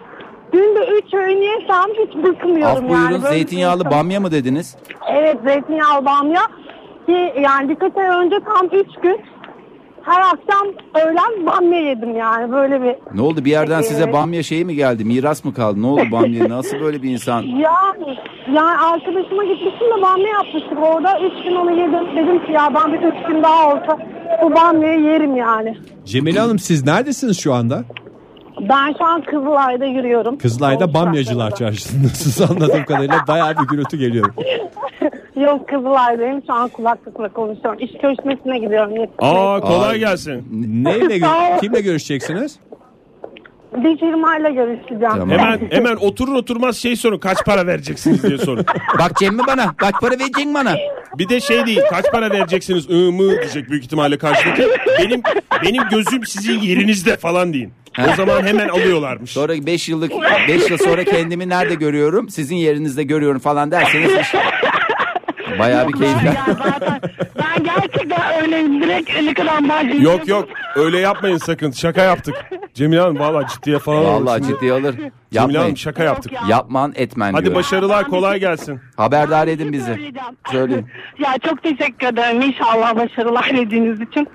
K: günde 3 öğün yesem hiç
D: Af
K: bıkmıyorum yani.
D: buyurun
K: Böyle
D: zeytinyağlı
K: bir- şey-
D: bamya mı dediniz?
K: Evet zeytinyağlı bamya. Ki yani birkaç ay önce tam 3 gün her akşam öğlen bamya yedim yani böyle bir
D: Ne oldu bir yerden size
K: Evet.
D: bamya şeyi mi geldi? Miras mı kaldı? Ne oldu bamya? Nasıl böyle bir insan?
K: Ya, ya arkadaşıma gitmiştim de bamya yapmıştık orada. Üç gün onu yedim. Dedim ki ya ben bir üç gün daha olsa bu bamyayı yerim yani.
E: Cemile Hanım siz neredesiniz şu anda?
K: Ben şu an Kızılay'da yürüyorum.
E: Kızılay'da
K: Olmuş
E: Bamyacılar
K: aslında.
E: Çarşısı'nda. *laughs* Siz anladığım kadarıyla bayağı bir gürültü geliyor.
K: Yok Kızılay'dayım. Şu an kulaklıkla konuşuyorum. İş görüşmesine gidiyorum. yetişmeye.
C: Aa kolay
D: Ay.
C: gelsin.
E: Neyle, gö- kimle görüşeceksiniz?
K: Bir firmayla görüşeceğim.
D: Tamam.
C: Hemen hemen oturur oturmaz şey sorun kaç para vereceksiniz diye sorun.
D: Bak Cem mi bana? Kaç para vereceksin bana?
C: Bir de şey değil kaç para vereceksiniz ı mı diyecek büyük ihtimalle karşıdaki. Benim benim gözüm sizin yerinizde falan deyin. O zaman hemen alıyorlarmış.
D: Sonra 5 yıllık 5 yıl sonra kendimi nerede görüyorum? Sizin yerinizde görüyorum falan derseniz hiç... Bayağı bir keyifler.
K: ben gerçekten öyleyim. Direkt eli kadar başlıyorum.
C: Yok yok öyle yapmayın sakın şaka yaptık. Cemile Hanım valla ciddiye falan alın.
D: Vallahi
C: Şimdi
D: ciddiye alır.
C: Cemile
D: Yapmayın.
C: Hanım şaka yaptık.
D: Yapman etmen
C: Hadi
D: diyorum.
C: başarılar kolay gelsin.
D: Haberdar edin bizi.
K: Söyleyeceğim.
D: Söyleyin.
K: ya çok teşekkür ederim. İnşallah başarılar dediğiniz için.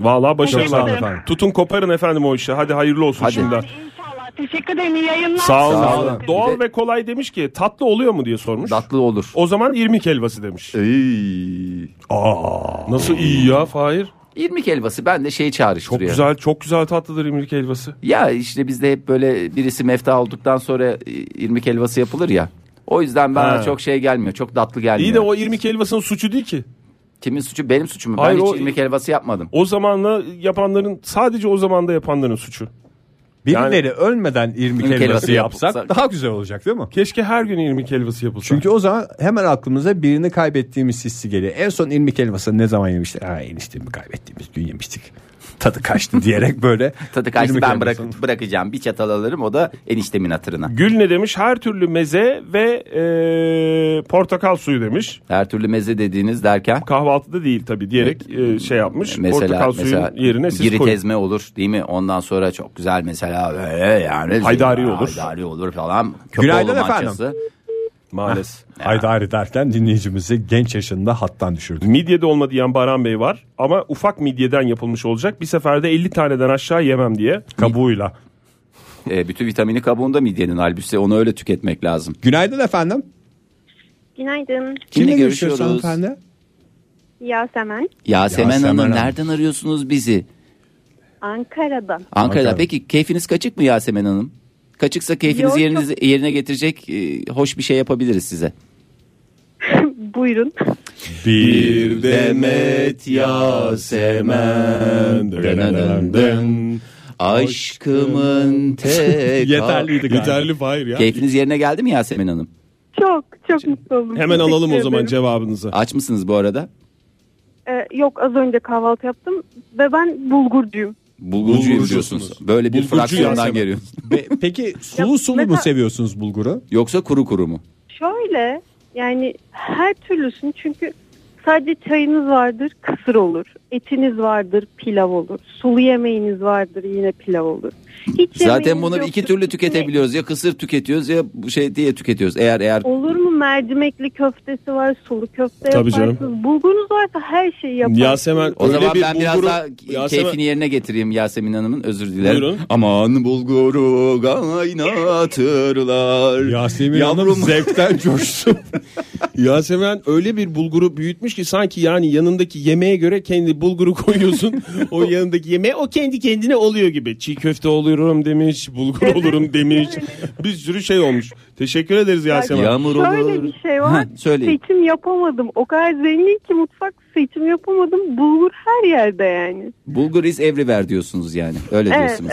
C: Valla
K: Teşekkür
C: başarılar.
K: ederim.
C: efendim. Tutun koparın efendim o işi. Hadi hayırlı olsun
D: Hadi.
C: şimdiden.
K: İnşallah. Teşekkür ederim. İyi yayınlar.
C: Sağ olun.
D: Sağ olun.
C: Doğal
D: Bir de-
C: ve kolay demiş ki tatlı oluyor mu diye sormuş.
D: Tatlı olur.
C: O zaman irmik helvası demiş. Nasıl iyi ya Fahir?
D: İrmik helvası ben de şey
C: Çok
D: çağrıştırıyor.
C: güzel çok güzel tatlıdır irmik helvası.
D: Ya işte bizde hep böyle birisi mefta olduktan sonra e, irmik helvası yapılır ya. O yüzden bana
C: Ha.
D: çok şey gelmiyor. Çok tatlı gelmiyor.
C: İyi de o irmik helvasının suçu değil ki.
D: Kimin suçu? Benim suçum mu? Ben
C: Hayır,
D: hiç
C: o-
D: irmik helvası yapmadım.
C: O zamanla yapanların sadece o zamanda yapanların suçu.
E: Birileri ölmeden irmik
D: İrmik
E: helvası
D: helvası
E: yapsak
D: yapsak.
E: daha güzel olacak değil mi?
C: Keşke her gün irmik helvası yapılsa.
E: Çünkü o zaman hemen aklımıza birini kaybettiğimiz hissi geliyor. En son irmik helvası ne zaman yemiştik? Ha eniştemi kaybettiğimiz gün yemiştik. *laughs* Tadı kaçtı diyerek böyle.
D: *laughs* Tadı kaçtı
E: irmik
D: ben
E: helvasını-
D: bırak, bırakacağım. Bir çatal alırım o da eniştemin hatırına.
C: Gül ne demiş? Her türlü meze ve eee, portakal suyu demiş.
D: Her türlü meze dediğiniz derken
C: Kahvaltıda değil tabii diyerek eee, şey yapmış.
D: mesela
C: portakal suyunun
D: mesela
C: yerine siz
D: giri
C: koyun.
D: tezme olur değil mi? Ondan sonra çok güzel mesela böyle yani
C: Haydari olur.
D: Haydari olur falan.
E: Günaydın
D: Köpoğlu
E: efendim.
D: mançası.
C: Maalesef.
E: Haydari derken dinleyicimizi genç yaşında hattan düşürdü.
C: Midye de olma diyen Baran Bey var ama ufak midyeden yapılmış olacak. Bir seferde 50 taneden aşağı yemem diye.
E: Kabuğuyla.
D: E, bütün vitamini kabuğunda midyenin halbuki onu öyle tüketmek lazım.
E: Günaydın efendim.
K: Günaydın.
D: Kimle
E: görüşüyoruz
D: görüşüyoruz?
E: hanımefendi?
K: Yasemen.
D: Yasemen,
E: Yasemen
D: Hanım,
E: Hanım.
D: nereden arıyorsunuz bizi?
K: Ankara'dan.
D: Ankara'da.
E: Ankara.
D: Peki keyfiniz kaçık mı Yasemen Hanım? Kaçıksa keyfinizi
K: Yok,
D: yerinize, yerine getirecek e, hoş bir şey yapabiliriz size.
K: Buyurun.
E: Bir
D: demet Yasemen.
C: *laughs*
D: Aşkımın tek
L: Yeterliydi galiba.
C: Yeterli Fahir ya.
D: Keyfiniz yerine geldi mi Yasemin Hanım?
K: Çok çok mutlu oldum.
C: Hemen
K: Teşekkür
C: alalım o zaman
K: ederim.
C: cevabınızı.
D: Aç mısınız bu arada?
K: Ee, yok az önce kahvaltı yaptım ve ben bulgurcuyum.
D: Bulgurcuyum
C: Bulgurcusunuz.
D: diyorsunuz. Böyle bir
C: Bulgurcu
D: fraksiyondan
C: Yasemin.
D: geliyorsunuz.
L: Be- peki sulu
K: Ya,
L: sulu mu
K: mesela-
L: seviyorsunuz bulguru?
D: Yoksa kuru kuru mu?
K: Şöyle yani her türlüsünü çünkü sadece çayınız vardır kısır olur. Etiniz vardır pilav olur. Sulu yemeğiniz vardır yine pilav olur. Hiç
D: Zaten
K: yemeğiniz
D: bunu
K: yoktur,
D: iki türlü
K: içine-
D: tüketebiliyoruz. Ya kısır tüketiyoruz ya bu şey diye tüketiyoruz. Eğer eğer
K: Olur mu mercimekli köftesi var, sulu köfte
C: Tabii canım.
K: yaparsınız. Bulgurunuz varsa her şeyi yaparsınız.
C: Yasemen-
D: o
C: Öyle
D: zaman
C: bir
D: ben biraz
C: bulguru-
D: daha
C: Yasemin-
D: keyfini yerine getireyim Yasemin Hanım'ın özür dilerim.
C: Buyurun.
D: Aman bulguru kaynatırlar.
L: Yasemin
D: Yavrum.
L: Hanım zevkten coştu.
C: Yasemen öyle bir bulguru büyütmüş ki sanki yani yanındaki yemeğe göre kendi bulguru
D: *laughs*
C: koyuyorsun. o yanındaki yemeğe o kendi kendine oluyor gibi. Çiğ köfte oluyorum demiş, bulgur olurum demiş. bir sürü şey olmuş. Teşekkür ederiz Yasemen.
D: Yağmur
K: Şöyle
D: olur.
K: bir şey var.
D: Heh, söyleyin.
K: Seçim yapamadım. O kadar zengin ki mutfak seçim yapamadım. Bulgur her yerde yani.
D: Bulgur is everywhere diyorsunuz yani. Öyle
K: Evet,
D: diyorsunuz.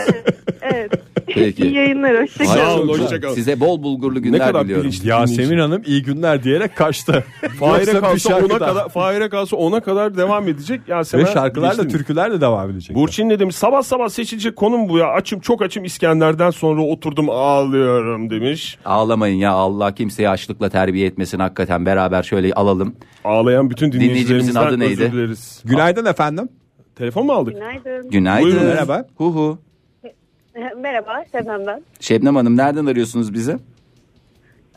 K: evet, evet.
D: Peki.
K: İyi yayınlar. Hoşçakalın.
C: Sağ olun,
D: Çok güzel.
C: hoşça kalın.
D: Size bol bulgurlu günler
C: kadar
D: diliyorum.
C: bilinçli.
B: Yasemin Hanım iyi günler diyerek kaçtı.
C: Fahir'e
B: *laughs* Yoksa bir
C: kalsa
B: şarkı
C: ona
B: daha.
C: kadar Fahir'e kalsa ona kadar devam edecek Yasemen.
B: Ve şarkılarla
C: bilinçli mi?
B: türkülerle devam edecek.
M: Burçin ne demiş? Sabah sabah seçilecek konum bu ya. Açım çok açım İskender'den sonra oturdum ağlıyorum demiş.
D: Ağlamayın ya Allah kimseyi açlıkla terbiye etmesin hakikaten beraber şöyle alalım.
M: Ağlayan bütün
D: Dinleyicimizin
M: dinleyicilerimizden
D: adı neydi?
M: özür dileriz.
B: Günaydın efendim.
M: Telefon mu aldık?
K: Günaydın.
D: Günaydın.
M: Buyurun,
B: merhaba.
D: Hu hu.
K: Merhaba Sezen ben.
D: Şebnem Hanım nereden arıyorsunuz bizi?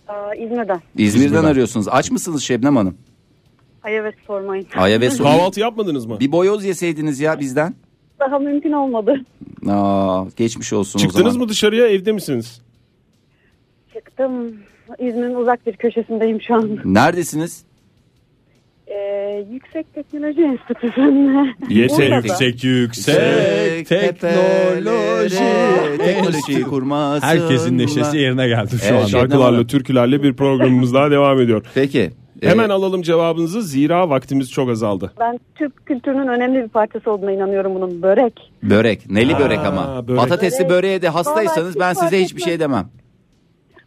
K: Aa, İzmir'den.
D: İzmir'den, arıyorsunuz. Aç mısınız Şebnem Hanım?
K: Ay evet sormayın.
D: Aya ve su.
C: Kahvaltı yapmadınız mı?
D: Bir boyoz yeseydiniz ya bizden.
K: Daha mümkün olmadı.
D: Aa, geçmiş olsun o
C: Çıktınız
D: zaman.
C: mı dışarıya evde misiniz?
K: Çıktım. İzmir'in uzak bir köşesindeyim şu an.
D: Neredesiniz?
K: Ee, yüksek Teknoloji Enstitüsü'nde. *laughs*
L: yüksek yüksek teknoloji.
D: teknoloji kurması.
L: Herkesin neşesi yerine geldi şu
D: Evet,
L: anda.
D: Şebnem Hanım.
C: Şarkılarla, türkülerle bir programımız daha devam
D: *laughs*
C: ediyor.
D: Peki. e,
C: Hemen alalım cevabınızı zira vaktimiz çok azaldı.
K: Ben Türk kültürünün önemli bir parçası olduğuna inanıyorum bunun. Börek.
D: börek. Neli börek ama.
C: börek.
D: Patatesli
K: Börek.
D: böreğe de hastaysanız
K: Vallahi
D: ben
K: hiç fark
D: size hiçbir
K: etmez.
D: şey demem.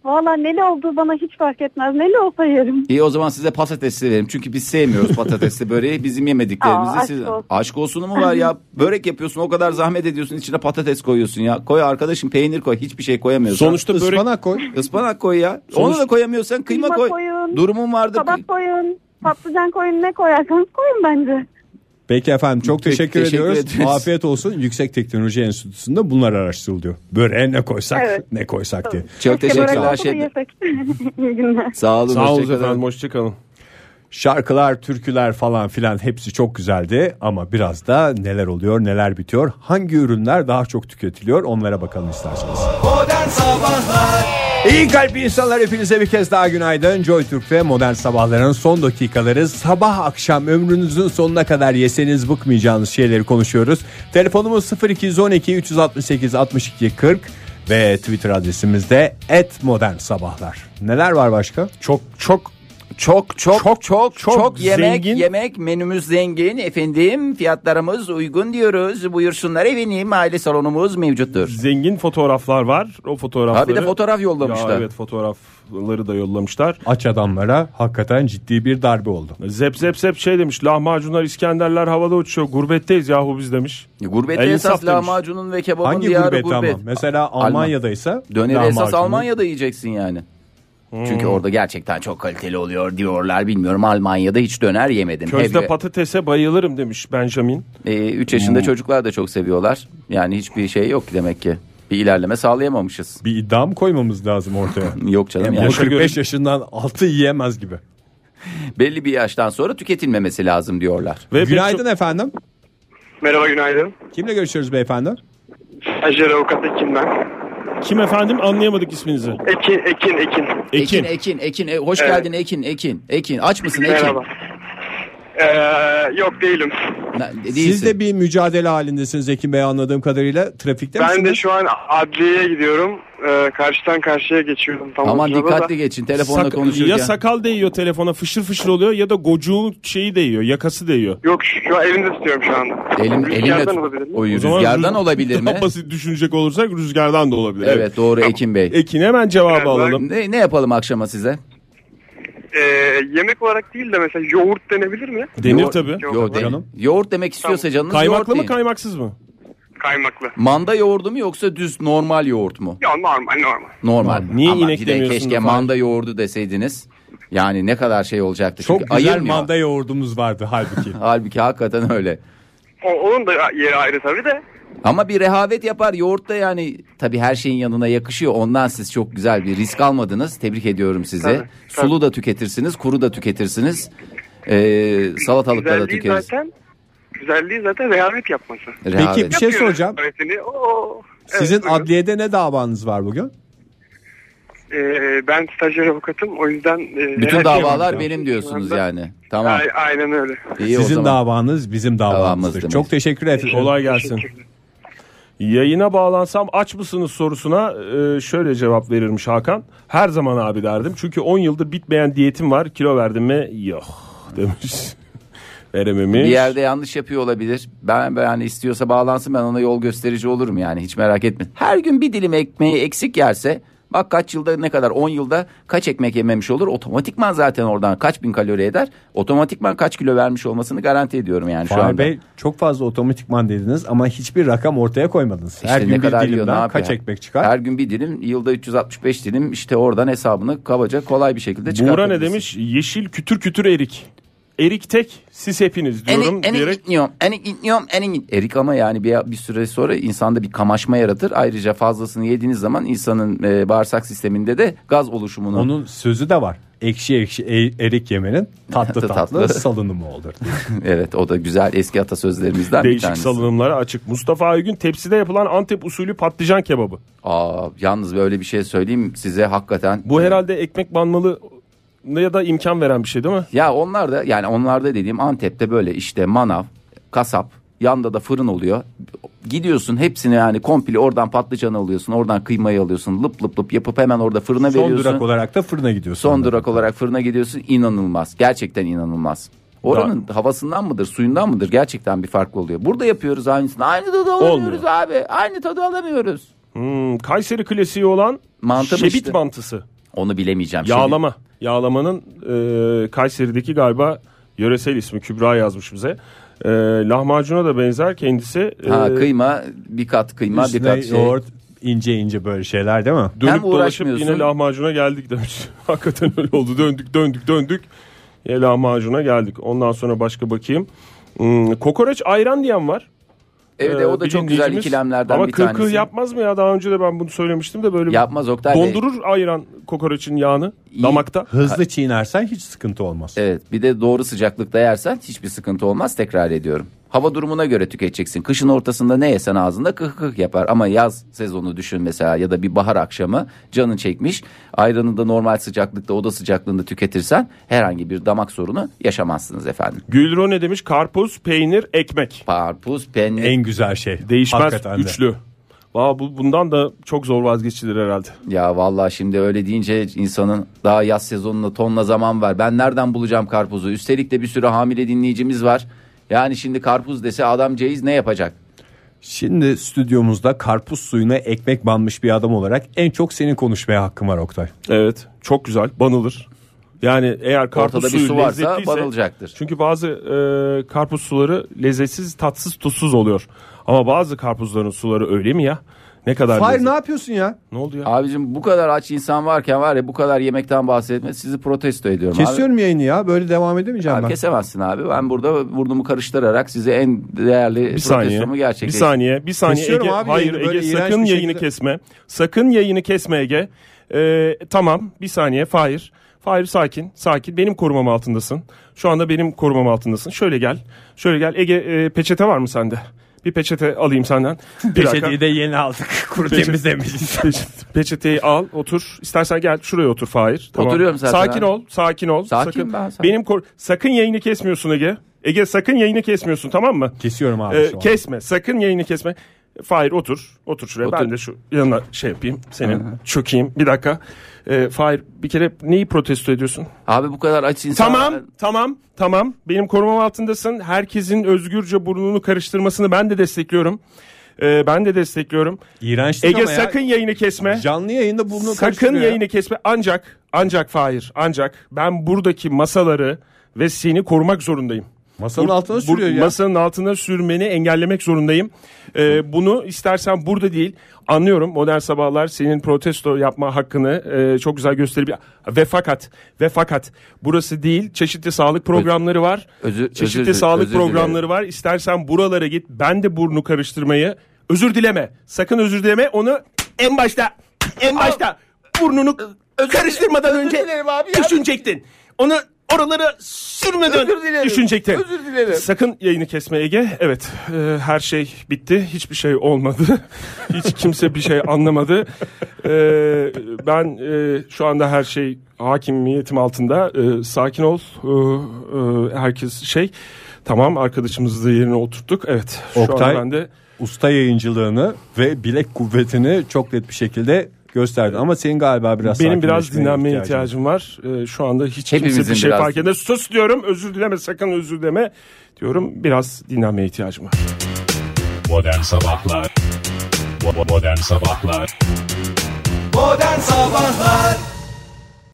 K: Valla neli olduğu bana hiç fark etmez. Neli olsa yerim.
D: İyi o zaman size patatesli verim. Çünkü biz sevmiyoruz patatesli böreği. Bizim yemediklerimizi
K: Aa, aşk
D: siz...
K: olsun.
D: Aşk olsunu mu var ya? Börek yapıyorsun o kadar zahmet ediyorsun içine patates koyuyorsun ya. Koy arkadaşım peynir koy hiçbir şey koyamıyorsun.
C: Sonuçta börek
L: Ispanak koy.
D: Ispanak koy ya. Onu da koyamıyorsan kıyma,
K: Kıyma
D: koy.
K: koyun.
D: Durumun vardı.
K: Kabak koyun, patlıcan koyun ne koyarsanız koyun bence.
B: Peki efendim çok
D: Peki,
B: teşekkür,
D: teşekkür
B: ediyoruz.
D: ederiz.
B: Afiyet olsun. Yüksek Teknoloji Enstitüsü'nde bunlar araştırılıyor. Böreğe ne koysak
K: Evet.
B: ne koysak diye.
D: Çok
K: Keşke börek
D: teşekkürler.
K: olsa da
D: Şey...
K: yesek. *laughs* İyi günler.
D: Sağ olun.
C: Sağ olun
D: hoşçakalın.
C: efendim hoşçakalın.
B: Şarkılar, türküler falan filan hepsi çok güzeldi ama biraz da neler oluyor, neler bitiyor, hangi ürünler daha çok tüketiliyor onlara bakalım isterseniz. İyi kalp insanlar hepinize bir kez daha günaydın. Joy Türk'te modern sabahların son dakikaları. Sabah akşam ömrünüzün sonuna kadar yeseniz bıkmayacağınız şeyleri konuşuyoruz. Telefonumuz 0212 368 62 40 ve Twitter adresimiz de @modernsabahlar. Neler var başka?
M: Çok çok
D: Çok çok çok çok
M: çok
D: yemek
M: zengin.
D: yemek menümüz zengin efendim fiyatlarımız uygun diyoruz buyursunlar efendim aile salonumuz mevcuttur.
M: zengin fotoğraflar var. O fotoğrafları.
D: Ha bir de fotoğraf yollamışlar.
M: Ya evet fotoğrafları da yollamışlar.
B: Aç adamlara hakikaten ciddi bir darbe oldu.
M: Zep zep zep şey demiş. Lahmacunlar İskenderler havada uçuyor. Gurbetteyiz yahu biz demiş.
D: Gurbette
M: El
D: esas
M: insaf demiş.
D: lahmacunun ve kebabın
B: Hangi
D: diyarı
B: gurbet,
D: gurbet.
B: ama? Mesela
D: Alman.
B: Almanya'daysa
D: Döneri esas
B: lahmacunu-
D: Almanya'da yiyeceksin yani. Çünkü orada gerçekten çok kaliteli oluyor diyorlar. Bilmiyorum Almanya'da hiç döner yemedim.
M: Közde
D: Hep-
M: patatese bayılırım demiş Benjamin.
D: 3 yaşında çocuklar da çok seviyorlar. Yani hiçbir şey yok demek ki. Bir ilerleme sağlayamamışız.
B: Bir iddiam koymamız lazım ortaya.
D: Yok canım *laughs*
B: Yani
D: yani.
B: 45 yaşından altı yiyemez gibi.
D: Belli bir yaştan sonra tüketilmemesi lazım diyorlar.
M: Ve pek
B: Günaydın
M: çok-
B: efendim.
N: Merhaba günaydın.
B: Kimle görüşüyoruz beyefendi?
N: Stajyer avukat Ekin ben.
C: Kim efendim anlayamadık isminizi.
N: Ekin, Ekin, Ekin.
C: Ekin.
D: Ekin, Ekin, Ekin. E, hoş
N: Evet.
D: geldin Ekin, Ekin, Ekin. Aç mısın Ekin?
N: Merhaba. E, yok değilim.
D: Na- değilsin.
B: Siz de bir mücadele halindesiniz Ekim Bey anladığım kadarıyla. Trafikte
N: Ben de
B: misiniz?
N: şu an adliyeye gidiyorum. Ee, karşıdan karşıya geçiyorum. Tam
D: Aman
N: o sırada
D: dikkatli
N: da.
D: geçin telefonla
C: Sak-
D: konuşurken.
C: Ya sakal değiyor telefona fışır fışır oluyor ya da gocuğun şeyi değiyor yakası değiyor.
N: Yok şu an elimde tutuyorum şu anda.
D: Elim, elimle
N: Rüzgardan
D: tut.
N: olabilir mi?
D: O
C: O zaman
D: rüzgardan
C: rüz-
D: olabilir
C: *laughs*
D: mi?
C: Daha basit düşünecek olursak rüzgardan da olabilir.
D: Evet doğru Ekim Bey.
C: Ekin hemen cevabı alalım.
D: Ne, ne yapalım akşama size?
N: Ee, yemek olarak değil de mesela yoğurt denebilir mi?
C: Denir
D: Yoğurt-
C: tabii.
N: Yok,
D: Yo, de-
C: canım.
D: Yoğurt demek istiyorsa canınız yoğurt
C: Kaymaklı mı
D: deyin.
C: kaymaksız mı?
N: Kaymaklı.
D: Manda yoğurdu mu yoksa düz normal yoğurt mu?
N: Ya normal normal.
D: Normal.
C: Niye
D: Ama
C: inek
D: bir de
C: demiyorsun
D: Keşke
C: Rıfat?
D: manda yoğurdu deseydiniz. Yani ne kadar şey olacaktı.
B: Çok
D: Çünkü
B: güzel
D: ayırmıyor.
B: manda yoğurdumuz vardı
D: *laughs*
B: halbuki.
D: Halbuki hakikaten öyle.
N: O, onun da yeri ayrı tabii de.
D: Ama bir rehavet yapar yoğurt da yani tabii her şeyin yanına yakışıyor. Ondan siz çok güzel bir risk almadınız. Tebrik ediyorum sizi.
N: Tabii,
D: Sulu da tüketirsiniz, kuru da tüketirsiniz. Ee, salatalıkla da
N: Güzelliği
D: tüketirsiniz.
N: zaten güzelliği zaten rehavet yapması.
B: Peki bir şey
N: Yapıyorum
B: soracağım.
N: rehavetini, oo. Evet,
B: Sizin
N: buyurun.
B: adliyede ne davanız var bugün?
N: Ee, ben stajyer avukatım o yüzden. e,
D: Bütün
N: her
D: davalar
N: şey-
D: benim diyorsunuz
N: Şu anda-
D: yani. Tamam.
N: A- Aynen öyle.
D: iyi o
B: Sizin
D: zaman.
B: davanız bizim
D: Davamız
B: davamızdır.
D: demek.
B: Çok teşekkür ederim.
C: Kolay gelsin. Yayına bağlansam aç mısınız sorusuna e, şöyle cevap verirmiş Hakan. Her zaman abi derdim. Çünkü 10 yıldır bitmeyen diyetim var. Kilo verdim mi? Yok *laughs* demiş. Verememiş.
D: Bir yerde yanlış yapıyor olabilir. Ben ben yani istiyorsa bağlansın ben ona yol gösterici olurum yani hiç merak etme. Her gün bir dilim ekmeği eksik yerse bak kaç yılda ne kadar 10 yılda kaç ekmek yememiş olur otomatikman zaten oradan kaç bin kalori eder otomatikman kaç kilo vermiş olmasını garanti ediyorum yani şu
B: Fahir
D: anda.
B: Bey çok fazla otomatikman dediniz ama hiçbir rakam ortaya koymadınız.
D: İşte
B: Her gün bir
D: yiyor, ne
B: dilimden
D: yapıyor?
B: kaç ekmek çıkar?
D: Her gün bir dilim yılda 365 dilim işte oradan hesabını kabaca kolay bir şekilde
C: Buğra ne
D: çıkartabilirsin.
C: demiş? Yeşil kütür kütür erik. Erik tek siz hepiniz diyorum.
D: Enik, enik
C: diyerek
D: gitmiyorum, enik gitmiyorum, enik git- Erik ama yani bir, bir süre sonra insanda bir kamaşma yaratır. Ayrıca fazlasını yediğiniz zaman insanın e, bağırsak sisteminde de gaz oluşumunu.
B: Onun sözü de var. Ekşi ekşi e-
D: *laughs*
B: erik yemenin tatlı
D: Tatlı
B: tatlı,
D: tatlı.
B: salınımı
D: *laughs*
B: olur.
D: *laughs* evet o da güzel eski atasözlerimizden bir
C: değişik
D: tanesi.
C: salınımlara açık. Mustafa Aygün tepside yapılan Antep usulü patlıcan kebabı.
D: Aa, yalnız böyle bir şey söyleyeyim size hakikaten.
C: Bu herhalde ekmek banmalı ya da imkan veren bir şey değil mi?
D: Ya onlar da yani onlar da dediğim Antep'te böyle işte manav, kasap, yanda da fırın oluyor. Gidiyorsun hepsini yani komple oradan patlıcanı alıyorsun, oradan kıymayı alıyorsun. Lıp lıp lıp yapıp hemen orada fırına
B: Son
D: veriyorsun.
B: durak olarak da fırına gidiyorsun.
D: Son durak olarak fırına gidiyorsun inanılmaz. Gerçekten inanılmaz. Oranın havasından mıdır, suyundan mıdır gerçekten bir farklı oluyor. Burada yapıyoruz aynısını. Aynı tadı alamıyoruz abi. Aynı tadı alamıyoruz.
C: Hmm, Kayseri klasiği olan
D: Mantı mı
C: şebit
D: işte?
C: mantısı.
D: Onu bilemeyeceğim. şimdi.
C: Yağlama. Yağlamanın e, Kayseri'deki galiba yöresel ismi Kübra yazmış bize. E, lahmacuna da benzer kendisi. E,
D: Ha, kıyma bir kat kıyma bir
B: Üstüne
D: kat şey.
B: yoğurt ince ince böyle şeyler değil mi?
C: dönüp
D: Hem
C: dolaşıp
D: uğraşmıyorsun.
C: yine lahmacuna geldik demiş. *laughs* Hakikaten öyle oldu. Döndük döndük döndük. Yine lahmacuna geldik. Ondan sonra başka bakayım. Hmm, kokoreç ayran diyen var.
D: Evet
C: Ee,
D: o da çok güzel
C: dinleyicimiz.
D: ikilemlerden
C: Ama
D: bir
C: kırkı
D: tanesi.
C: yapmaz mı ya? Daha önce de ben bunu söylemiştim de böyle bir-
D: Yapmaz Oktay Bey.
C: Dondurur ayran kokoreçin yağını damakta.
B: Hızlı çiğnersen hiç sıkıntı olmaz.
D: Evet bir de doğru sıcaklıkta yersen hiçbir sıkıntı olmaz tekrar ediyorum. Hava durumuna göre tüketeceksin. Kışın ortasında ne yesen ağzında kıh kıh yapar. Ama yaz sezonu düşün mesela ya da bir bahar akşamı canın çekmiş. Ayranı da normal sıcaklıkta oda sıcaklığında tüketirsen herhangi bir damak sorunu yaşamazsınız efendim.
C: Gülro ne demiş? Karpuz, peynir, ekmek.
D: Parpuz, peynir.
B: En güzel şey.
C: Değişmez
B: Hakikaten de.
C: üçlü. Valla bu bundan da çok zor vazgeçilir herhalde.
D: Ya vallahi şimdi öyle deyince insanın daha yaz sezonuna tonla zaman var. Ben nereden bulacağım karpuzu? Üstelik de bir sürü hamile dinleyicimiz var. Yani şimdi karpuz dese adam ceyiz ne yapacak?
B: Şimdi stüdyomuzda karpuz suyuna ekmek banmış bir adam olarak en çok senin konuşmaya hakkım var Oktay.
C: Evet. Çok güzel. Banılır. Yani eğer karpuz
D: Ortada bir
C: suyu
D: su varsa
C: lezzetliyse-
D: banılacaktır.
C: Çünkü bazı e, karpuz suları lezzetsiz, tatsız, tuzsuz oluyor. Ama bazı karpuzların suları öyle mi ya? Ne kadar
B: Hayır
C: lezzet-
B: ne yapıyorsun ya?
C: Ne oldu ya?
D: Abicim bu kadar aç insan varken var ya bu kadar yemekten bahsetme sizi protesto ediyorum abi.
B: Kesiyorum yayını ya böyle devam edemeyeceğim
D: Abi
B: ben.
D: kesemezsin abi. Ben burada burnumu karıştırarak size en değerli
C: bir saniye.
D: protestomu
C: Bir
D: gerçekleştirdim.
C: saniye. Bir saniye.
B: Kesiyorum
C: Ege,
B: abi
C: hayır
B: yayını, böyle
C: Ege
B: iğrenç
C: sakın
B: bir
C: yayını
B: şekilde.
C: kesme. Sakın yayını kesme Ege. Ee, tamam. Bir saniye. Fahir. Fahir sakin. Sakin. Benim korumam altındasın. Şu anda benim korumam altındasın. Şöyle gel. Şöyle gel. Ege e, peçete var mı sende? Bir peçete alayım senden. Bir dakika.
B: de yeni aldık. Kuru
C: *laughs*
B: temizlemişiz.
C: Peçete- Peçeteyi al, otur. İstersen gel şuraya otur Fahir.
D: Oturuyorum zaten
C: Sakin
D: abi.
C: ol, sakin ol.
D: Sakin
C: sakın.
D: ben, sakin.
C: Benim kor- sakın yayını kesmiyorsun Ege. Ege sakın yayını kesmiyorsun tamam mı?
E: Kesiyorum abi
C: Ee,
E: şu an.
C: kesme sakın yayını kesme. Fahir otur. Otur şuraya. Ben de şu yanına şey yapayım. Senin çökeyim. Bir dakika. Ee, Fahir bir kere neyi protesto ediyorsun?
D: Abi bu kadar aç insan.
C: Tamam, tamam, tamam. Benim korumam altındasın. Herkesin özgürce burnunu karıştırmasını ben de destekliyorum. Ee, ben de destekliyorum.
E: İğrenç
C: Ege
E: ama ya.
C: sakın yayını kesme.
E: Canlı yayında bunu
C: Sakın yayını kesme. Ancak, ancak Fahir, ancak ben buradaki masaları ve seni korumak zorundayım.
E: Masanın
C: Bur-
E: altına
C: bur-
E: sürüyor ya.
C: Masanın altına sürmeni engellemek zorundayım. Ee, bunu istersen burada değil. Anlıyorum modern sabahlar senin protesto yapma hakkını e, çok güzel gösterip ve fakat ve fakat burası değil. Çeşitli sağlık programları var.
D: Özür-
C: çeşitli
D: özür dilerim,
C: sağlık
D: özür dilerim.
C: programları var. İstersen buralara git. Ben de burnu karıştırmayı özür dileme. Sakın özür dileme. Onu en başta en başta burnunu karıştırmadan önce düşünecektin. Onu oralara sürmeden düşünecektin. Özür dilerim. Sakın yayını kesme Ege. Evet e, her şey bitti. Hiçbir şey *laughs* olmadı. Hiç kimse bir şey anlamadı. E, ben e, şu anda her şey hakimiyetim altında. E, sakin ol. E, e, herkes şey... Tamam arkadaşımızı da yerine oturttuk. Evet. Şu
E: Oktay.
C: anda ben de
E: usta yayıncılığını ve bilek kuvvetini çok net bir şekilde gösterdin. Ama senin galiba biraz
C: Benim biraz
E: sakinleşmeye
C: dinlenmeye
E: ihtiyacın var.
C: ihtiyacım var. Ee, şu anda hiç kimse
D: Hepimizin
C: bir şey
D: biraz.
C: fark etmez. Sus diyorum. Özür dileme sakın özür dileme diyorum. Biraz dinlenmeye ihtiyacım var.
A: Modern Sabahlar Bo- bo- Modern Sabahlar
B: Modern Sabahlar